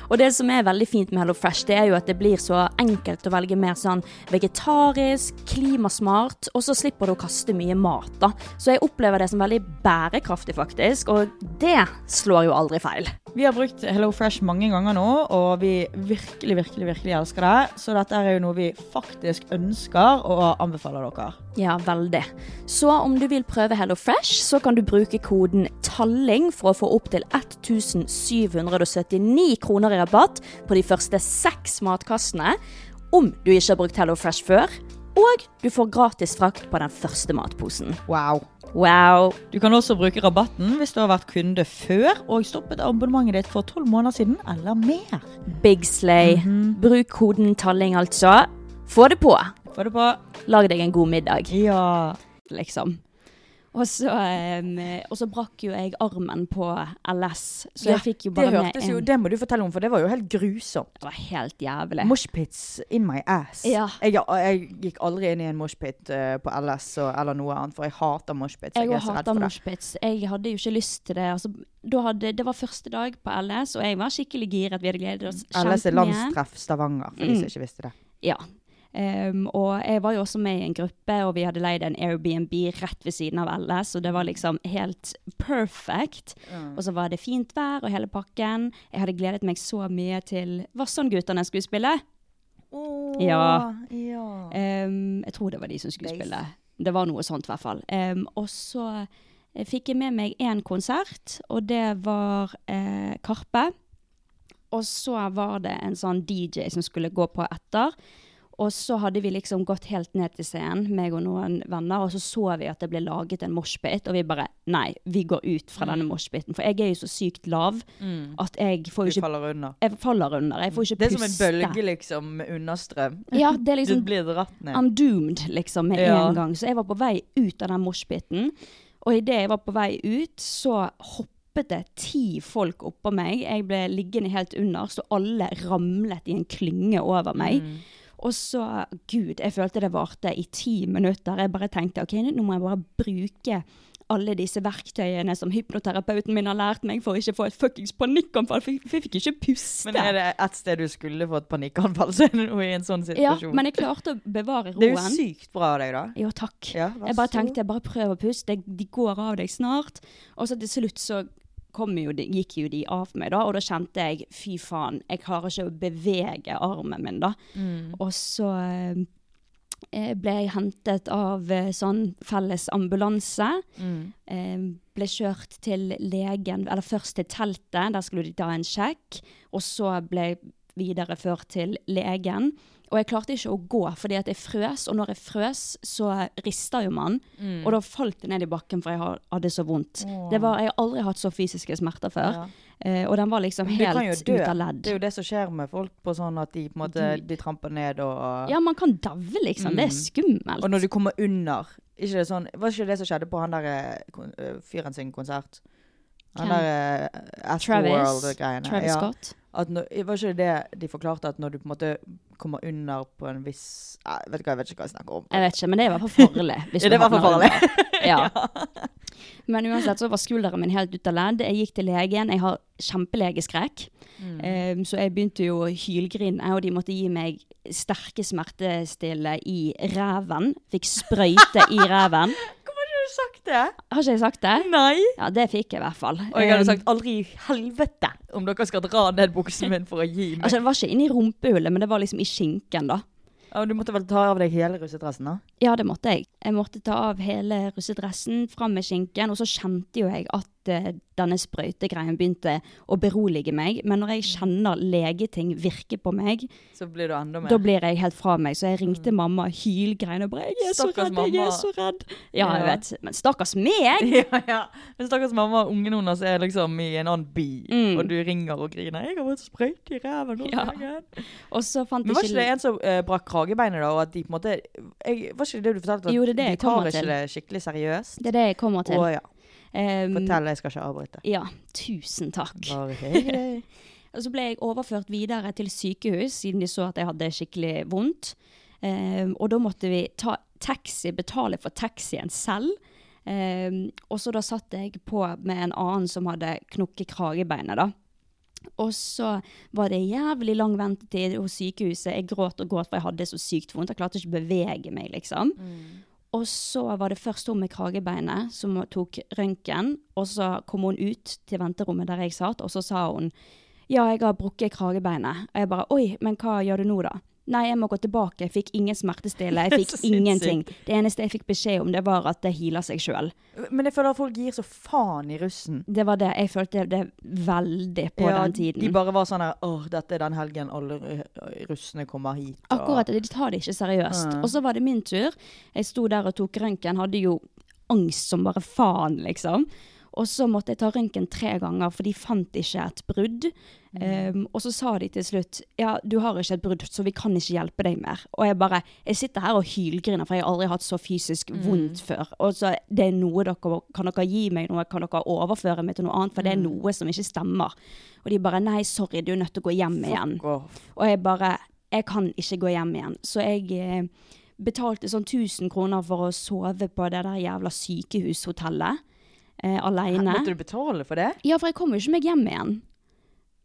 [SPEAKER 1] Og det som er veldig fint med Hello Fresh, det er jo at det blir så enkelt å velge mer sånn vegetarisk, klimasmart, og så slipper du å kaste mye mat, da. Så jeg opplever det som veldig bærekraftig, faktisk, og det slår jo aldri feil.
[SPEAKER 2] Vi har brukt Hello Fresh mange ganger nå, og vi virkelig, virkelig, virkelig elsker det. Så dette er jo noe vi faktisk ønsker og anbefaler dere.
[SPEAKER 1] Ja, veldig. Så om du vil prøve Hello Fresh, så kan du bruke koden TALLING for å få opp til 1779 kroner i rabatt på de første seks matkassene, om du ikke har brukt Hello Fresh før, og du får gratis frakt på den første matposen.
[SPEAKER 2] Wow.
[SPEAKER 1] Wow!
[SPEAKER 2] Du kan også bruke rabatten hvis du har vært kunde før og stoppet abonnementet ditt for tolv måneder siden eller mer.
[SPEAKER 1] Big slay. Bruk koden TALLING, altså. Få det på!
[SPEAKER 2] Få det på.
[SPEAKER 1] Lag deg en god middag,
[SPEAKER 2] Ja.
[SPEAKER 1] liksom. Og så, eh, og så brakk jo jeg armen på LS, så
[SPEAKER 2] Ja,
[SPEAKER 1] jeg fikk jo
[SPEAKER 2] det
[SPEAKER 1] bare med
[SPEAKER 2] hørtes
[SPEAKER 1] en
[SPEAKER 2] jo, det må du fortelle om, for det var jo helt grusomt.
[SPEAKER 1] Det var helt jævlig.
[SPEAKER 2] Moshpits in my ass.
[SPEAKER 1] Ja.
[SPEAKER 2] Jeg, jeg gikk aldri inn i en moshpit eh, på LS og, eller noe annet, for jeg hater moshpits.
[SPEAKER 1] Jeg
[SPEAKER 2] er
[SPEAKER 1] òg
[SPEAKER 2] så redd
[SPEAKER 1] hata
[SPEAKER 2] for det.
[SPEAKER 1] moshpits. Jeg hadde jo ikke lyst til det. Altså, da hadde, det var første dag på LS, og jeg var skikkelig giret. Vi hadde gledet oss
[SPEAKER 2] LS er
[SPEAKER 1] kjempemye.
[SPEAKER 2] landstreff Stavanger, for
[SPEAKER 1] Mm.
[SPEAKER 2] de som ikke visste det.
[SPEAKER 1] Ja. Ehm, og jeg var jo også med i en gruppe, og vi hadde leid en Airbnb rett ved siden av LS, og det var liksom helt perfect.
[SPEAKER 2] Mm.
[SPEAKER 1] Og så var det fint vær og hele pakken. Jeg hadde gledet meg så mye til Vassandgutane skulle spille. Ja. Ehm, jeg tror det var de som skulle spille. Det var noe sånt, i hvert fall. Ehm, og så eh, fikk jeg med meg én konsert, og det var eh, Karpe. Og så var det en sånn DJ som skulle gå på etter. Og så hadde vi liksom gått helt ned til scenen, meg og noen venner, og så så vi at det ble laget en moshpit, og vi bare Nei, vi går ut fra
[SPEAKER 2] Mm.
[SPEAKER 1] denne moshpiten. For jeg er jo så sykt lav at jeg får
[SPEAKER 2] Du
[SPEAKER 1] jo ikke
[SPEAKER 2] faller unna.
[SPEAKER 1] Jeg faller under. Jeg får ikke
[SPEAKER 2] Mm. Det er
[SPEAKER 1] puste.
[SPEAKER 2] som en bølge, liksom, med understrøm.
[SPEAKER 1] Ja, det er liksom
[SPEAKER 2] Du blir dratt ned.
[SPEAKER 1] I'm doomed, liksom, med
[SPEAKER 2] Ja.
[SPEAKER 1] en gang. Så jeg var på vei ut av den moshpiten. Og idet jeg var på vei ut, så hoppet det ti folk oppå meg. Jeg ble liggende helt under, så alle ramlet i en klynge over meg.
[SPEAKER 2] Mm.
[SPEAKER 1] Og så, gud, jeg følte det varte i ti minutter. Jeg bare tenkte ok, nå må jeg bare bruke alle disse verktøyene som hypnoterapeuten min har lært meg for å ikke få et fuckings panikkanfall, for jeg- for jeg fikk ikke puste.
[SPEAKER 2] Men er det ett sted du skulle fått panikkanfall, så er det noe i en sånn
[SPEAKER 1] ja,
[SPEAKER 2] situasjon.
[SPEAKER 1] men jeg klarte å bevare roen.
[SPEAKER 2] det er jo sykt bra av deg, da.
[SPEAKER 1] Jo, takk.
[SPEAKER 2] Ja, vær
[SPEAKER 1] jeg bare
[SPEAKER 2] så god.
[SPEAKER 1] tenkte, bare prøv å puste, de- de går av deg snart. Og så til slutt så kom jo, de- gikk jo de av meg da, og da kjente jeg, fy faen, jeg klarer ikke å bevege armen min da.
[SPEAKER 2] Mm.
[SPEAKER 1] Og så eh, ble jeg hentet av eh, sånn felles ambulanse,
[SPEAKER 2] Mm.
[SPEAKER 1] eh, ble kjørt til legen, eller først til teltet, der skulle de ta en sjekk, og så ble jeg videreført til legen. Og jeg klarte ikke å gå fordi at jeg frøs, og når jeg frøs, så rista jo man.
[SPEAKER 2] Mm.
[SPEAKER 1] Og da falt jeg ned i bakken, for jeg har- hadde så vondt. Det var, jeg har aldri hatt så fysiske smerter før. Eh, og den var liksom
[SPEAKER 2] Du kan jo
[SPEAKER 1] helt
[SPEAKER 2] dø.
[SPEAKER 1] ut av
[SPEAKER 2] Det er
[SPEAKER 1] ledd.
[SPEAKER 2] jo det som skjer med folk på sånn at de på en måte de tramper ned og
[SPEAKER 1] Ja, man kan daue, liksom. Det er skummelt.
[SPEAKER 2] Mm. Og når du kommer under ikke det sånn, Var ikke det som skjedde på han der eh, kon- eh, fyren sin konsert? Han
[SPEAKER 1] Hvem?
[SPEAKER 2] der uh,
[SPEAKER 1] Travis,
[SPEAKER 2] Astroworld-greiene.
[SPEAKER 1] Travis Scott.
[SPEAKER 2] At når, var ikke det de forklarte, at når du på en måte kommer under på en viss Nei, vet du hva, Jeg vet ikke hva jeg snakker om.
[SPEAKER 1] Jeg vet ikke, men det er i hvert fall farlig. hvis
[SPEAKER 2] Ja,
[SPEAKER 1] du
[SPEAKER 2] det er i hvert fall
[SPEAKER 1] havner
[SPEAKER 2] farlig. *laughs*
[SPEAKER 1] under. Ja. Men uansett så var skulderen min helt ute av ledd. Jeg gikk til legen. Jeg har kjempelegeskrekk.
[SPEAKER 2] Mm.
[SPEAKER 1] Eh, så jeg begynte jo å hylgrine, og de måtte gi meg sterke smertestille i ræven. Fikk
[SPEAKER 2] *laughs*
[SPEAKER 1] sprøyte i ræven.
[SPEAKER 2] Hvorfor har du ikke sagt det?
[SPEAKER 1] Har ikke jeg sagt det?
[SPEAKER 2] Nei.
[SPEAKER 1] Ja, det fikk jeg i hvert fall.
[SPEAKER 2] Og jeg hadde
[SPEAKER 1] Eh,
[SPEAKER 2] sagt 'aldri i helvete' om dere skal dra ned buksen min for å gi meg.
[SPEAKER 1] Altså, det var ikke inni rumpehullet, men det var liksom i skinken, da.
[SPEAKER 2] Ja, du måtte vel ta av deg hele russedressen, da?
[SPEAKER 1] Ja, det måtte jeg. Jeg måtte ta av hele russedressen, fram med skinken, og så kjente jo jeg at eh, denne sprøytegreien begynte å berolige meg. Men når jeg
[SPEAKER 2] Mm.
[SPEAKER 1] kjenner legeting virke på meg,
[SPEAKER 2] Så blir du enda mer *laughs*
[SPEAKER 1] da blir jeg helt fra meg. Så jeg ringte mamma hylgreiene og bare 'Jeg er
[SPEAKER 2] Mm. Stakkars
[SPEAKER 1] så redd, jeg
[SPEAKER 2] mamma.
[SPEAKER 1] er så redd'. Ja, jeg
[SPEAKER 2] Ja.
[SPEAKER 1] vet. Men stakkars meg!
[SPEAKER 2] ja, ja. Men stakkars mamma og ungen hennes er liksom i en annen by, og du ringer og griner. 'Jeg har fått sprøyte i ræven.' nå,
[SPEAKER 1] Ja.
[SPEAKER 2] Jørgen.»
[SPEAKER 1] Og så fant
[SPEAKER 2] Men
[SPEAKER 1] jeg
[SPEAKER 2] var ikke det en som eh, brakk kragebeinet, da? Og at de på en måte jeg, Var ikke det du fortalte? At
[SPEAKER 1] Jo, det er det
[SPEAKER 2] de
[SPEAKER 1] jeg kommer
[SPEAKER 2] tar ikke
[SPEAKER 1] til.
[SPEAKER 2] det skikkelig seriøst?
[SPEAKER 1] Det er det jeg kommer til.
[SPEAKER 2] Å ja.
[SPEAKER 1] Ehm,
[SPEAKER 2] Fortell, jeg skal ikke avbryte.
[SPEAKER 1] Ja, tusen takk.
[SPEAKER 2] Bare
[SPEAKER 1] *laughs*
[SPEAKER 2] hei.
[SPEAKER 1] Og så ble jeg overført videre til sykehus, siden de så at jeg hadde skikkelig vondt. Ehm, og da måtte vi ta taxi, betale for taxien selv. Ehm, og så da satt jeg på med en annen som hadde knukket kragebeinet, da. Og så var det jævlig lang ventetid hos sykehuset. Jeg gråt og gråt, for jeg hadde så sykt vondt. Jeg klarte ikke å bevege meg, liksom.
[SPEAKER 2] Mm.
[SPEAKER 1] Og så var det først hun med kragebeinet som tok røntgen, og så kom hun ut til venterommet der jeg satt, og så sa hun ja, jeg har brukket kragebeinet. Og jeg bare oi, men hva gjør du nå da? Nei, jeg må gå tilbake. Jeg fikk ingen
[SPEAKER 2] *laughs*
[SPEAKER 1] smertestille. Jeg
[SPEAKER 2] Så
[SPEAKER 1] fikk
[SPEAKER 2] sinnssykt.
[SPEAKER 1] ingenting. Det eneste jeg fikk beskjed om, det var at det healer seg sjøl.
[SPEAKER 2] Men jeg føler at folk gir så faen i russen.
[SPEAKER 1] Det var det. Jeg følte det veldig på
[SPEAKER 2] Ja,
[SPEAKER 1] den tiden.
[SPEAKER 2] De bare var sånn her 'Å, dette er den helgen alle ru- russene kommer hit'. og-
[SPEAKER 1] Akkurat, de tar det ikke seriøst. Og så var det min tur. Jeg sto der og tok røntgen, hadde jo angst som bare faen, liksom. Og så måtte jeg ta røntgen tre ganger, for de fant ikke et brudd. Ehm, og så sa de til slutt ja, du har ikke et brudd, så vi kan ikke hjelpe deg mer. Og jeg bare jeg sitter her og hylgriner, for jeg har aldri hatt så fysisk vondt før. Og så det er noe dere Kan dere gi meg noe? Kan dere overføre meg til noe annet? For det er noe som ikke stemmer. Og de bare nei, sorry, du er nødt til å gå hjem igjen.
[SPEAKER 2] off.
[SPEAKER 1] Og jeg bare Jeg kan ikke gå hjem igjen. Så jeg eh, betalte sånn 1000 kroner for å sove på det der jævla sykehushotellet eh, aleine.
[SPEAKER 2] Måtte du betale for det?
[SPEAKER 1] Ja, for jeg kom jo ikke meg hjem igjen.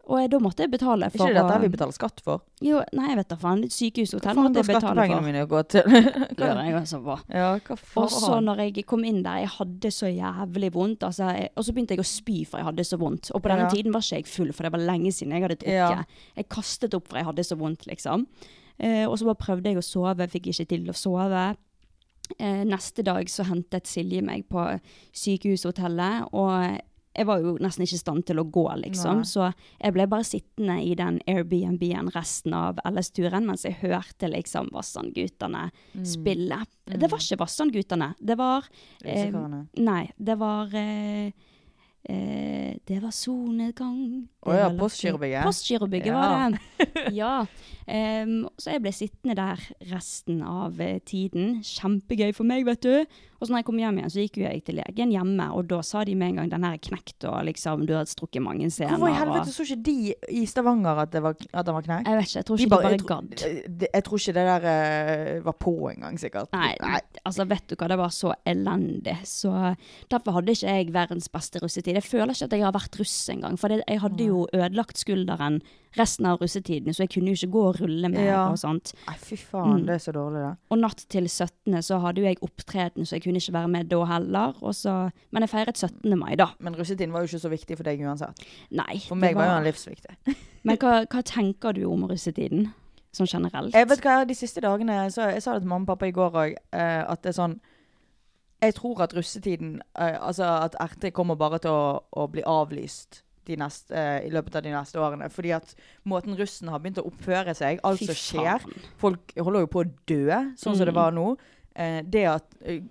[SPEAKER 1] Og jeg, da måtte jeg betale for
[SPEAKER 2] Ikke dette her vi betaler skatt for.
[SPEAKER 1] Jo, nei, jeg vet da faen. Det er et
[SPEAKER 2] Hva
[SPEAKER 1] Sykehushotell
[SPEAKER 2] faen
[SPEAKER 1] måtte
[SPEAKER 2] går
[SPEAKER 1] jeg betale
[SPEAKER 2] skattepengene
[SPEAKER 1] for.
[SPEAKER 2] mine går til? *laughs*
[SPEAKER 1] Lurer jeg også på.
[SPEAKER 2] Ja, hva faen?
[SPEAKER 1] Og så når jeg kom inn der, jeg hadde så jævlig vondt. Altså, jeg, og så begynte jeg å spy for jeg hadde så vondt. Og på denne
[SPEAKER 2] Ja.
[SPEAKER 1] tiden var ikke jeg full, for det var lenge siden jeg hadde
[SPEAKER 2] Ja.
[SPEAKER 1] drukket. Jeg kastet opp for jeg hadde så vondt, liksom. Eh, og så bare prøvde jeg å sove, fikk ikke til å sove. Eh, neste dag så hentet Silje meg på sykehushotellet, og jeg var jo nesten ikke i stand til å gå, liksom.
[SPEAKER 2] Nei.
[SPEAKER 1] Så jeg ble bare sittende i den Airbnb-en resten av LS-turen, mens jeg hørte liksom Vassandgutane spille. Det var ikke Vassandgutane. Det var eh,
[SPEAKER 2] Musikerne.
[SPEAKER 1] Nei, det var eh, eh, Det var solnedgang
[SPEAKER 2] Å
[SPEAKER 1] det
[SPEAKER 2] ja,
[SPEAKER 1] var lagt-
[SPEAKER 2] Postgirobygget.
[SPEAKER 1] Postgirobygget
[SPEAKER 2] Ja.
[SPEAKER 1] var
[SPEAKER 2] *laughs*
[SPEAKER 1] det. Ja. Em, så jeg ble sittende der resten av eh, tiden. Kjempegøy for meg, vet du. Og så når jeg kom hjem igjen, så gikk jo jeg til legen hjemme, og da sa de med en gang den her er knekt og liksom du har strukket mange sener.
[SPEAKER 2] Hvorfor i
[SPEAKER 1] og-
[SPEAKER 2] helvete så ikke de i Stavanger at, det var, at den var knekt?
[SPEAKER 1] Jeg vet ikke, jeg tror
[SPEAKER 2] De
[SPEAKER 1] ikke de bare,
[SPEAKER 2] jeg, tro-
[SPEAKER 1] gadd.
[SPEAKER 2] det- jeg tror ikke det der eh, var på engang, sikkert.
[SPEAKER 1] Nei, altså vet du hva, det var så elendig. Så derfor hadde ikke jeg verdens beste russetid. Jeg føler ikke at jeg har vært russ engang, for det, jeg hadde jo ødelagt skulderen resten av russetiden, så jeg kunne jo ikke gå og rulle med
[SPEAKER 2] Ja.
[SPEAKER 1] og sånt.
[SPEAKER 2] Nei, fy
[SPEAKER 1] Mm.
[SPEAKER 2] faen, det er så dårlig, det.
[SPEAKER 1] Og natt til 17. så hadde jo jeg opptreden, så jeg kunne ikke være med da heller. Og så, men jeg feiret 17. mai, da.
[SPEAKER 2] Men russetiden var jo ikke så viktig for deg uansett.
[SPEAKER 1] Nei.
[SPEAKER 2] For
[SPEAKER 1] det
[SPEAKER 2] meg var jo den livsviktig.
[SPEAKER 1] Men hva, hva tenker du om russetiden, sånn generelt?
[SPEAKER 2] Jeg vet hva, de siste dagene så Jeg sa det til mamma og pappa i går òg, at det er sånn Jeg tror at russetiden eh, Altså at RT kommer bare til å, å bli avlyst de neste, eh, i løpet av de neste årene. Fordi at måten russen har begynt å oppføre seg, alt
[SPEAKER 1] Fy
[SPEAKER 2] som skjer
[SPEAKER 1] faen.
[SPEAKER 2] Folk holder jo på å dø, sånn som det
[SPEAKER 1] Mm.
[SPEAKER 2] var nå. Eh, det at eh,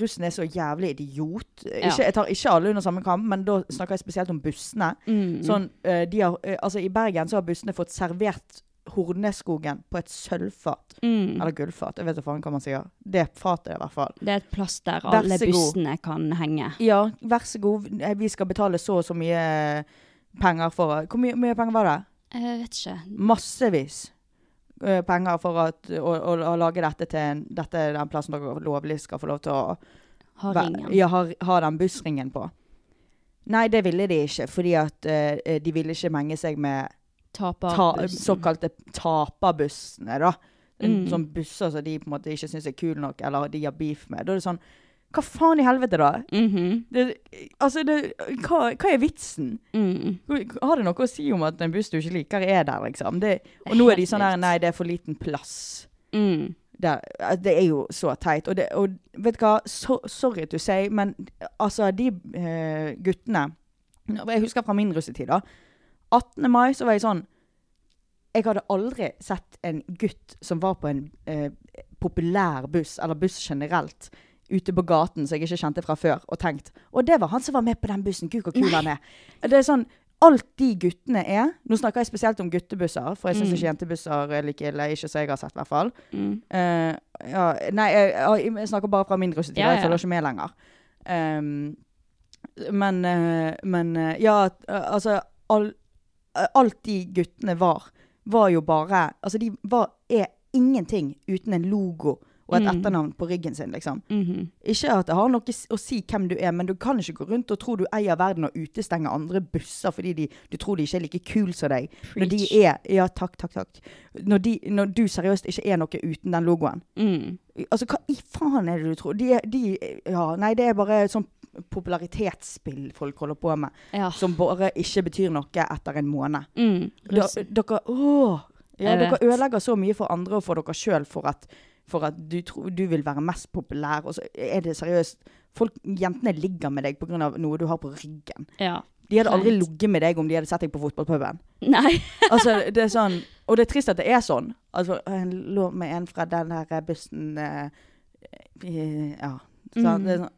[SPEAKER 2] russen er så jævlig idiot
[SPEAKER 1] Ja.
[SPEAKER 2] ikke, Jeg tar ikke alle under samme kamp, men da snakker jeg spesielt om bussene.
[SPEAKER 1] Mm.
[SPEAKER 2] Sånn, eh, de har, eh, altså I Bergen så har bussene fått servert Horneskogen på et sølvfat.
[SPEAKER 1] mm.
[SPEAKER 2] Eller gullfat, jeg vet da faen hva man sier. Det fatet, i hvert fall.
[SPEAKER 1] Det er et plass der
[SPEAKER 2] Vær
[SPEAKER 1] alle
[SPEAKER 2] så god.
[SPEAKER 1] bussene kan henge.
[SPEAKER 2] Ja, vær så god, eh, vi skal betale så og så mye eh, penger for å- Hvor mye, mye penger var det?
[SPEAKER 1] Jeg vet ikke.
[SPEAKER 2] Massevis eh, penger for at, å, å, å lage dette til en- dette er den plassen dere lovlig skal få lov til å
[SPEAKER 1] Har
[SPEAKER 2] Hva-
[SPEAKER 1] ingen.
[SPEAKER 2] Ja, har, har den bussringen på. Nei, det ville de ikke, fordi at eh, de ville ikke menge seg med
[SPEAKER 1] Taper
[SPEAKER 2] ta,
[SPEAKER 1] bussen.
[SPEAKER 2] såkalte taperbussene, da.
[SPEAKER 1] Mm.
[SPEAKER 2] Sånn busser som de på en måte ikke syns er kule nok, eller de har beef med. Da er det sånn Hva faen i helvete, da?
[SPEAKER 1] Mhm.
[SPEAKER 2] Det, altså, det, hva, hva er vitsen?
[SPEAKER 1] Mm.
[SPEAKER 2] Har det noe å si om at en buss du ikke liker, er der, liksom? Det, og nå er de
[SPEAKER 1] Helt
[SPEAKER 2] sånn her
[SPEAKER 1] vilt.
[SPEAKER 2] Nei, det er for liten plass.
[SPEAKER 1] Mm.
[SPEAKER 2] Det, det er jo så teit. Og, det, og vet du hva, so, sorry to say, men altså, de eh, guttene Jeg husker fra min russetid, da. 18. mai så var jeg sånn Jeg hadde aldri sett en gutt som var på en eh, populær buss, eller buss generelt, ute på gaten som jeg ikke kjente fra før, og tenkt Og det var han som var med på den bussen. Gud, hvor kul han er. Det er sånn Alt de guttene er Nå snakker jeg spesielt om guttebusser, for jeg syns
[SPEAKER 1] Mm.
[SPEAKER 2] ikke jentebusser er like ille. Ikke som jeg har sett, i hvert fall.
[SPEAKER 1] Mm.
[SPEAKER 2] Eh, ja, nei, jeg, jeg- jeg snakker bare fra min russetid.
[SPEAKER 1] Ja,
[SPEAKER 2] Jeg
[SPEAKER 1] ja.
[SPEAKER 2] følger ikke med lenger. Ehm, men eh, men eh, ja, at, eh, altså all, eh, Alt de guttene var, var jo bare Altså, de var, er ingenting uten en logo og et
[SPEAKER 1] Mm.
[SPEAKER 2] etternavn på ryggen sin, liksom.
[SPEAKER 1] Mhm.
[SPEAKER 2] Ikke at det har noe s- å si hvem du er, men du kan ikke gå rundt og tro du eier verden og utestenge andre busser fordi de, du tror de ikke er like kule som deg. Når de
[SPEAKER 1] Preach.
[SPEAKER 2] er Ja, takk, takk, takk. Når, de, når du seriøst ikke er noe uten den logoen.
[SPEAKER 1] Mm.
[SPEAKER 2] Altså, hva i faen er det du tror? De, er- de Ja, nei, det er bare sånn popularitetsspill folk holder på med,
[SPEAKER 1] Ja.
[SPEAKER 2] som bare ikke betyr noe etter en måned.
[SPEAKER 1] Mm.
[SPEAKER 2] Da,
[SPEAKER 1] Russen.
[SPEAKER 2] dere Åh! Ja,
[SPEAKER 1] Jeg
[SPEAKER 2] dere
[SPEAKER 1] vet.
[SPEAKER 2] ødelegger så mye for andre og for dere sjøl for at, for at du tror du vil være mest populær, og så er det seriøst Folk, Jentene ligger med deg pga. noe du har på ryggen.
[SPEAKER 1] ja.
[SPEAKER 2] De hadde aldri
[SPEAKER 1] Kleint.
[SPEAKER 2] ligget med deg om de hadde sett deg på fotballpuben.
[SPEAKER 1] Nei.
[SPEAKER 2] Altså, det er sånn, og det er trist at det er sånn. Altså, jeg lå med en fra den her bussen eh, eh, Ja. Så,
[SPEAKER 1] Mm.
[SPEAKER 2] det er sånn,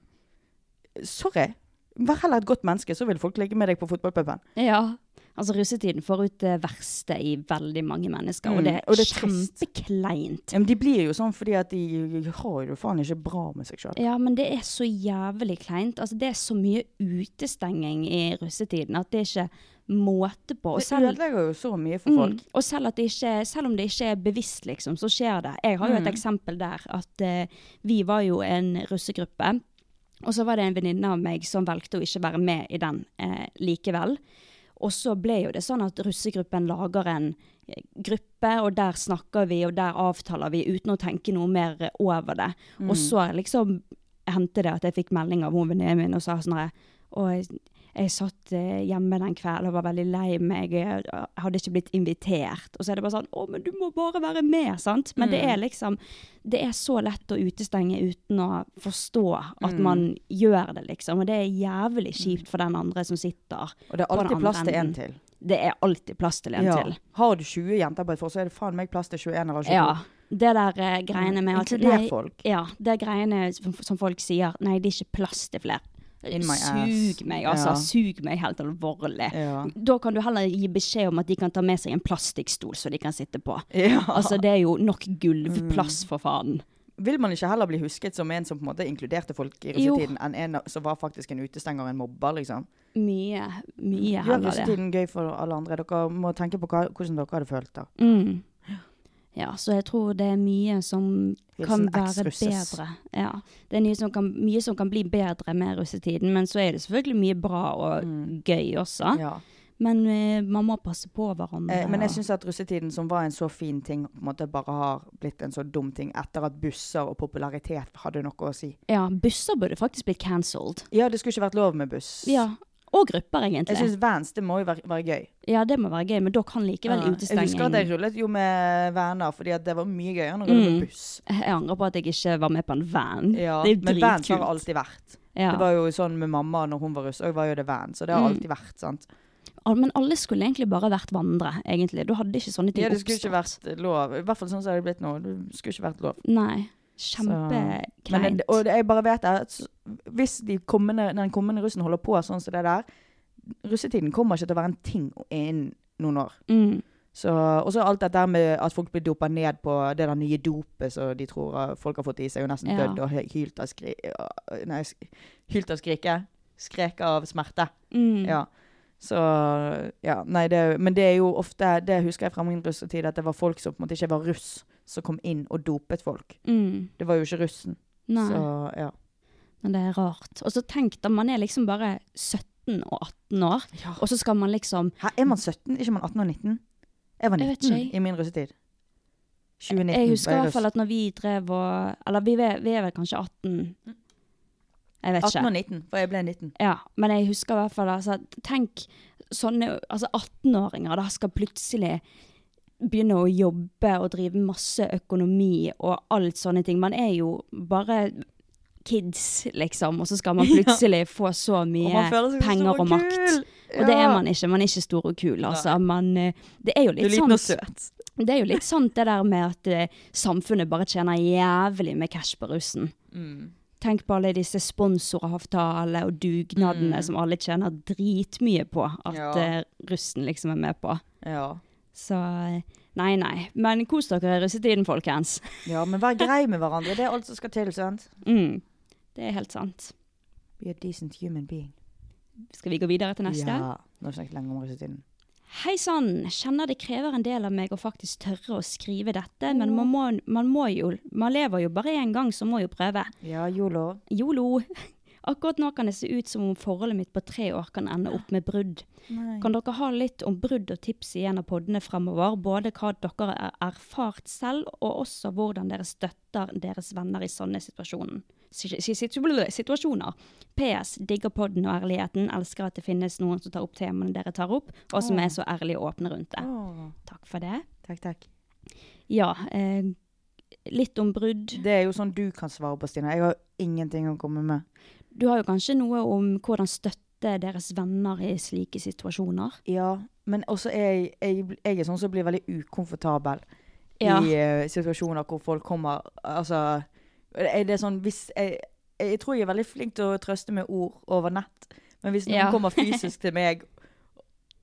[SPEAKER 2] sorry. Vær heller et godt menneske, så vil folk ligge med deg på fotballpuben.
[SPEAKER 1] Ja. Altså, russetiden får ut det verste i veldig mange mennesker,
[SPEAKER 2] Mm,
[SPEAKER 1] og det er,
[SPEAKER 2] og det er trist.
[SPEAKER 1] kjempekleint.
[SPEAKER 2] Ja, men de blir jo sånn fordi at de har jo faen ikke bra med seg sjøl.
[SPEAKER 1] Ja, men det er så jævlig kleint. Altså, det er så mye utestenging i russetiden at det er ikke måte på. Og
[SPEAKER 2] Det
[SPEAKER 1] selv,
[SPEAKER 2] ødelegger jo så mye for folk.
[SPEAKER 1] Mm. Og selv, at det ikke, selv om det ikke er bevisst, liksom, så skjer det. Jeg har jo et eksempel der at eh, vi var jo en russegruppe. Og så var det en venninne av meg som valgte å ikke være med i den eh, likevel. Og så ble jo det sånn at russegruppen lager en eh, gruppe, og der snakker vi, og der avtaler vi, uten å tenke noe mer eh, over det. Og så liksom hendte det at jeg fikk melding av hun venninnen min og sa sånn her Og jeg, jeg satt eh, hjemme den kvelden og var veldig lei meg, jeg hadde ikke blitt invitert. Og så er det bare sånn Å, men du må bare være med, sant? Men det er
[SPEAKER 2] Mm.
[SPEAKER 1] liksom Det er så lett å utestenge uten å forstå at
[SPEAKER 2] Mm.
[SPEAKER 1] man gjør det, liksom. Og det er jævlig kjipt for den andre som sitter
[SPEAKER 2] Og det er
[SPEAKER 1] på den
[SPEAKER 2] alltid
[SPEAKER 1] andre
[SPEAKER 2] plass til én
[SPEAKER 1] enden.
[SPEAKER 2] til.
[SPEAKER 1] Det er alltid plass til en til.
[SPEAKER 2] Har du 20 jenter på et forhold, så er det faen meg plass til 21 eller 22.
[SPEAKER 1] Ja. Det der eh, greiene med at
[SPEAKER 2] Inkluder
[SPEAKER 1] nei,
[SPEAKER 2] Mm. folk.
[SPEAKER 1] Ja, det greiene som, som folk sier Nei, det er ikke plass til flere.
[SPEAKER 2] In my ass.
[SPEAKER 1] Sug meg, altså.
[SPEAKER 2] Ja.
[SPEAKER 1] Sug meg helt alvorlig. *laughs*
[SPEAKER 2] Ja.
[SPEAKER 1] Da kan du heller gi beskjed om at de kan ta med seg en plastikkstol så de kan sitte på.
[SPEAKER 2] Ja. Mm.
[SPEAKER 1] Altså, det er jo nok gulvplass, for faen.
[SPEAKER 2] Vil man ikke heller bli husket som en som på en måte inkluderte folk i
[SPEAKER 1] Jo.
[SPEAKER 2] russetiden, enn en som var faktisk en utestenger og en mobber, liksom?
[SPEAKER 1] Mye, mye
[SPEAKER 2] Gjør
[SPEAKER 1] heller det.
[SPEAKER 2] russetiden gøy for alle andre. Dere må tenke på hva, hvordan dere hadde følt da.
[SPEAKER 1] Mm. Ja, så jeg tror det er mye som kan
[SPEAKER 2] Hilsen
[SPEAKER 1] være
[SPEAKER 2] ex-russes.
[SPEAKER 1] bedre. Ja, det er mye som, kan, mye som kan bli bedre med russetiden, men så er det selvfølgelig mye bra og gøy også.
[SPEAKER 2] Mm. Ja.
[SPEAKER 1] Men eh, man må passe på hverandre.
[SPEAKER 2] Eh, men
[SPEAKER 1] og-
[SPEAKER 2] jeg syns at russetiden, som var en så fin ting, på en måte bare har blitt en så dum ting etter at busser og popularitet hadde noe å si.
[SPEAKER 1] ja, busser burde faktisk blitt cancelled.
[SPEAKER 2] Ja, det skulle ikke vært lov med buss.
[SPEAKER 1] Ja, og grupper egentlig.
[SPEAKER 2] Jeg syns Vans, det må jo være, være gøy.
[SPEAKER 1] Ja, det må være gøy, men da kan likevel
[SPEAKER 2] Ja. Jeg
[SPEAKER 1] utestenging
[SPEAKER 2] husker at jeg rullet jo med venner, fordi at det var mye gøyere enn å rulle med buss.
[SPEAKER 1] Jeg angrer på at jeg ikke var med på en van.
[SPEAKER 2] Ja,
[SPEAKER 1] Mm. det er
[SPEAKER 2] men
[SPEAKER 1] jo
[SPEAKER 2] Vans har
[SPEAKER 1] dritkult.
[SPEAKER 2] det alltid vært.
[SPEAKER 1] Ja. Mm.
[SPEAKER 2] Det var jo sånn med mamma når hun var russ, og var jo det Vans. Og det har alltid vært, sant.
[SPEAKER 1] Al- Men alle skulle egentlig bare vært vandre, egentlig. Da hadde ikke sånne ting
[SPEAKER 2] Ja, det skulle ikke
[SPEAKER 1] oppstått.
[SPEAKER 2] vært lov. I hvert fall sånn som det er blitt nå. Det skulle ikke vært lov.
[SPEAKER 1] Nei.
[SPEAKER 2] Men,
[SPEAKER 1] Kjempekleint.
[SPEAKER 2] det- og det- jeg bare vet at s- hvis de kommende, den kommende russen holder på sånn som det der, russetiden kommer ikke til å være en ting innen noen år.
[SPEAKER 1] Mm.
[SPEAKER 2] Så, og så alt dette her med at folk blir dopa ned på det der nye dopet som de tror at folk har fått i seg, og nesten
[SPEAKER 1] Ja.
[SPEAKER 2] dødd og hy- hylt av, skri, ja, nei, sk- hylt av skrike. Skrek av smerte.
[SPEAKER 1] Mm.
[SPEAKER 2] Ja. Så Ja, nei, det Men det er jo ofte Det husker jeg fra min russetid, at det var folk som på en måte ikke var russ, som kom inn og dopet folk.
[SPEAKER 1] Mm.
[SPEAKER 2] Det var jo ikke russen.
[SPEAKER 1] Nei,
[SPEAKER 2] Så ja.
[SPEAKER 1] men det er rart. Og så tenk da, man er liksom bare 17 og 18 år,
[SPEAKER 2] Ja.
[SPEAKER 1] og så skal man liksom
[SPEAKER 2] Hæ, er man 17? Ikke man 18 og 19? Jeg var
[SPEAKER 1] Jeg
[SPEAKER 2] 19
[SPEAKER 1] vet ikke, jeg-
[SPEAKER 2] i min russetid. 2019
[SPEAKER 1] Jeg husker
[SPEAKER 2] var
[SPEAKER 1] i
[SPEAKER 2] jeg
[SPEAKER 1] hvert fall
[SPEAKER 2] russ.
[SPEAKER 1] at når vi drev og Eller vi, er- vi er vel kanskje 18 Jeg vet
[SPEAKER 2] 18 Mm. og
[SPEAKER 1] ikke.
[SPEAKER 2] 19, for jeg ble 19.
[SPEAKER 1] Ja, men jeg husker i hvert fall altså, Tenk sånne altså 18-åringer da skal plutselig begynne å jobbe og drive masse økonomi og alt sånne ting. Man er jo bare kids, liksom, og så skal
[SPEAKER 2] *laughs*
[SPEAKER 1] man plutselig få så
[SPEAKER 2] Og
[SPEAKER 1] mye
[SPEAKER 2] man føler seg så
[SPEAKER 1] penger og makt.
[SPEAKER 2] kul.
[SPEAKER 1] Og det er
[SPEAKER 2] Ja.
[SPEAKER 1] man ikke. Man er ikke stor og kul, altså. Man, eh, det er jo
[SPEAKER 2] Du er
[SPEAKER 1] litt
[SPEAKER 2] liten og
[SPEAKER 1] sant.
[SPEAKER 2] søt.
[SPEAKER 1] Det er jo litt sant det der med at eh, samfunnet bare tjener jævlig med cash på russen.
[SPEAKER 2] Mm.
[SPEAKER 1] Tenk på alle disse sponsoravtalene og dugnadene som alle tjener dritmye på at
[SPEAKER 2] Ja.
[SPEAKER 1] eh, russen liksom er med på.
[SPEAKER 2] Ja.
[SPEAKER 1] Så eh, nei, nei. Men kos dere i russetiden, folkens.
[SPEAKER 2] ja, men vær grei med hverandre. Det er alt som skal til, sant?
[SPEAKER 1] Mm. Det er helt sant.
[SPEAKER 2] Be a decent human being.
[SPEAKER 1] Skal vi gå videre til neste?
[SPEAKER 2] Ja. Nå har vi snakket lenge om russetiden.
[SPEAKER 1] Hei sann, kjenner det krever en del av meg å faktisk tørre å skrive dette, men man må, man må jo, man lever jo bare én gang, så må jo prøve.
[SPEAKER 2] Ja, yolo.
[SPEAKER 1] Jolo. *laughs* Akkurat nå kan det se ut som om forholdet mitt på tre år kan ende opp med brudd. Kan dere ha litt om brudd og tips i en av poddene fremover? Både hva dere har erfart selv, og også hvordan dere støtter deres venner i sånne situasjonen- si- si- situ- situasjoner. PS. Digger podden og ærligheten. Elsker at det finnes noen som tar opp temaene dere tar opp, og som er så ærlige og åpne rundt det. Takk for det.
[SPEAKER 2] Takk, takk.
[SPEAKER 1] Ja, eh, litt om brudd.
[SPEAKER 2] Det er jo sånn du kan svare på, Stina. Jeg har ingenting å komme med.
[SPEAKER 1] Du har jo kanskje noe om hvordan støtte deres venner i slike situasjoner?
[SPEAKER 2] Ja, men også er jeg, jeg, jeg er sånn som blir veldig ukomfortabel
[SPEAKER 1] Ja.
[SPEAKER 2] i eh, situasjoner hvor folk kommer Altså, er det sånn hvis jeg, jeg tror jeg er veldig flink til å trøste med ord over nett. Men hvis noen
[SPEAKER 1] Ja.
[SPEAKER 2] kommer
[SPEAKER 1] *laughs*
[SPEAKER 2] fysisk til meg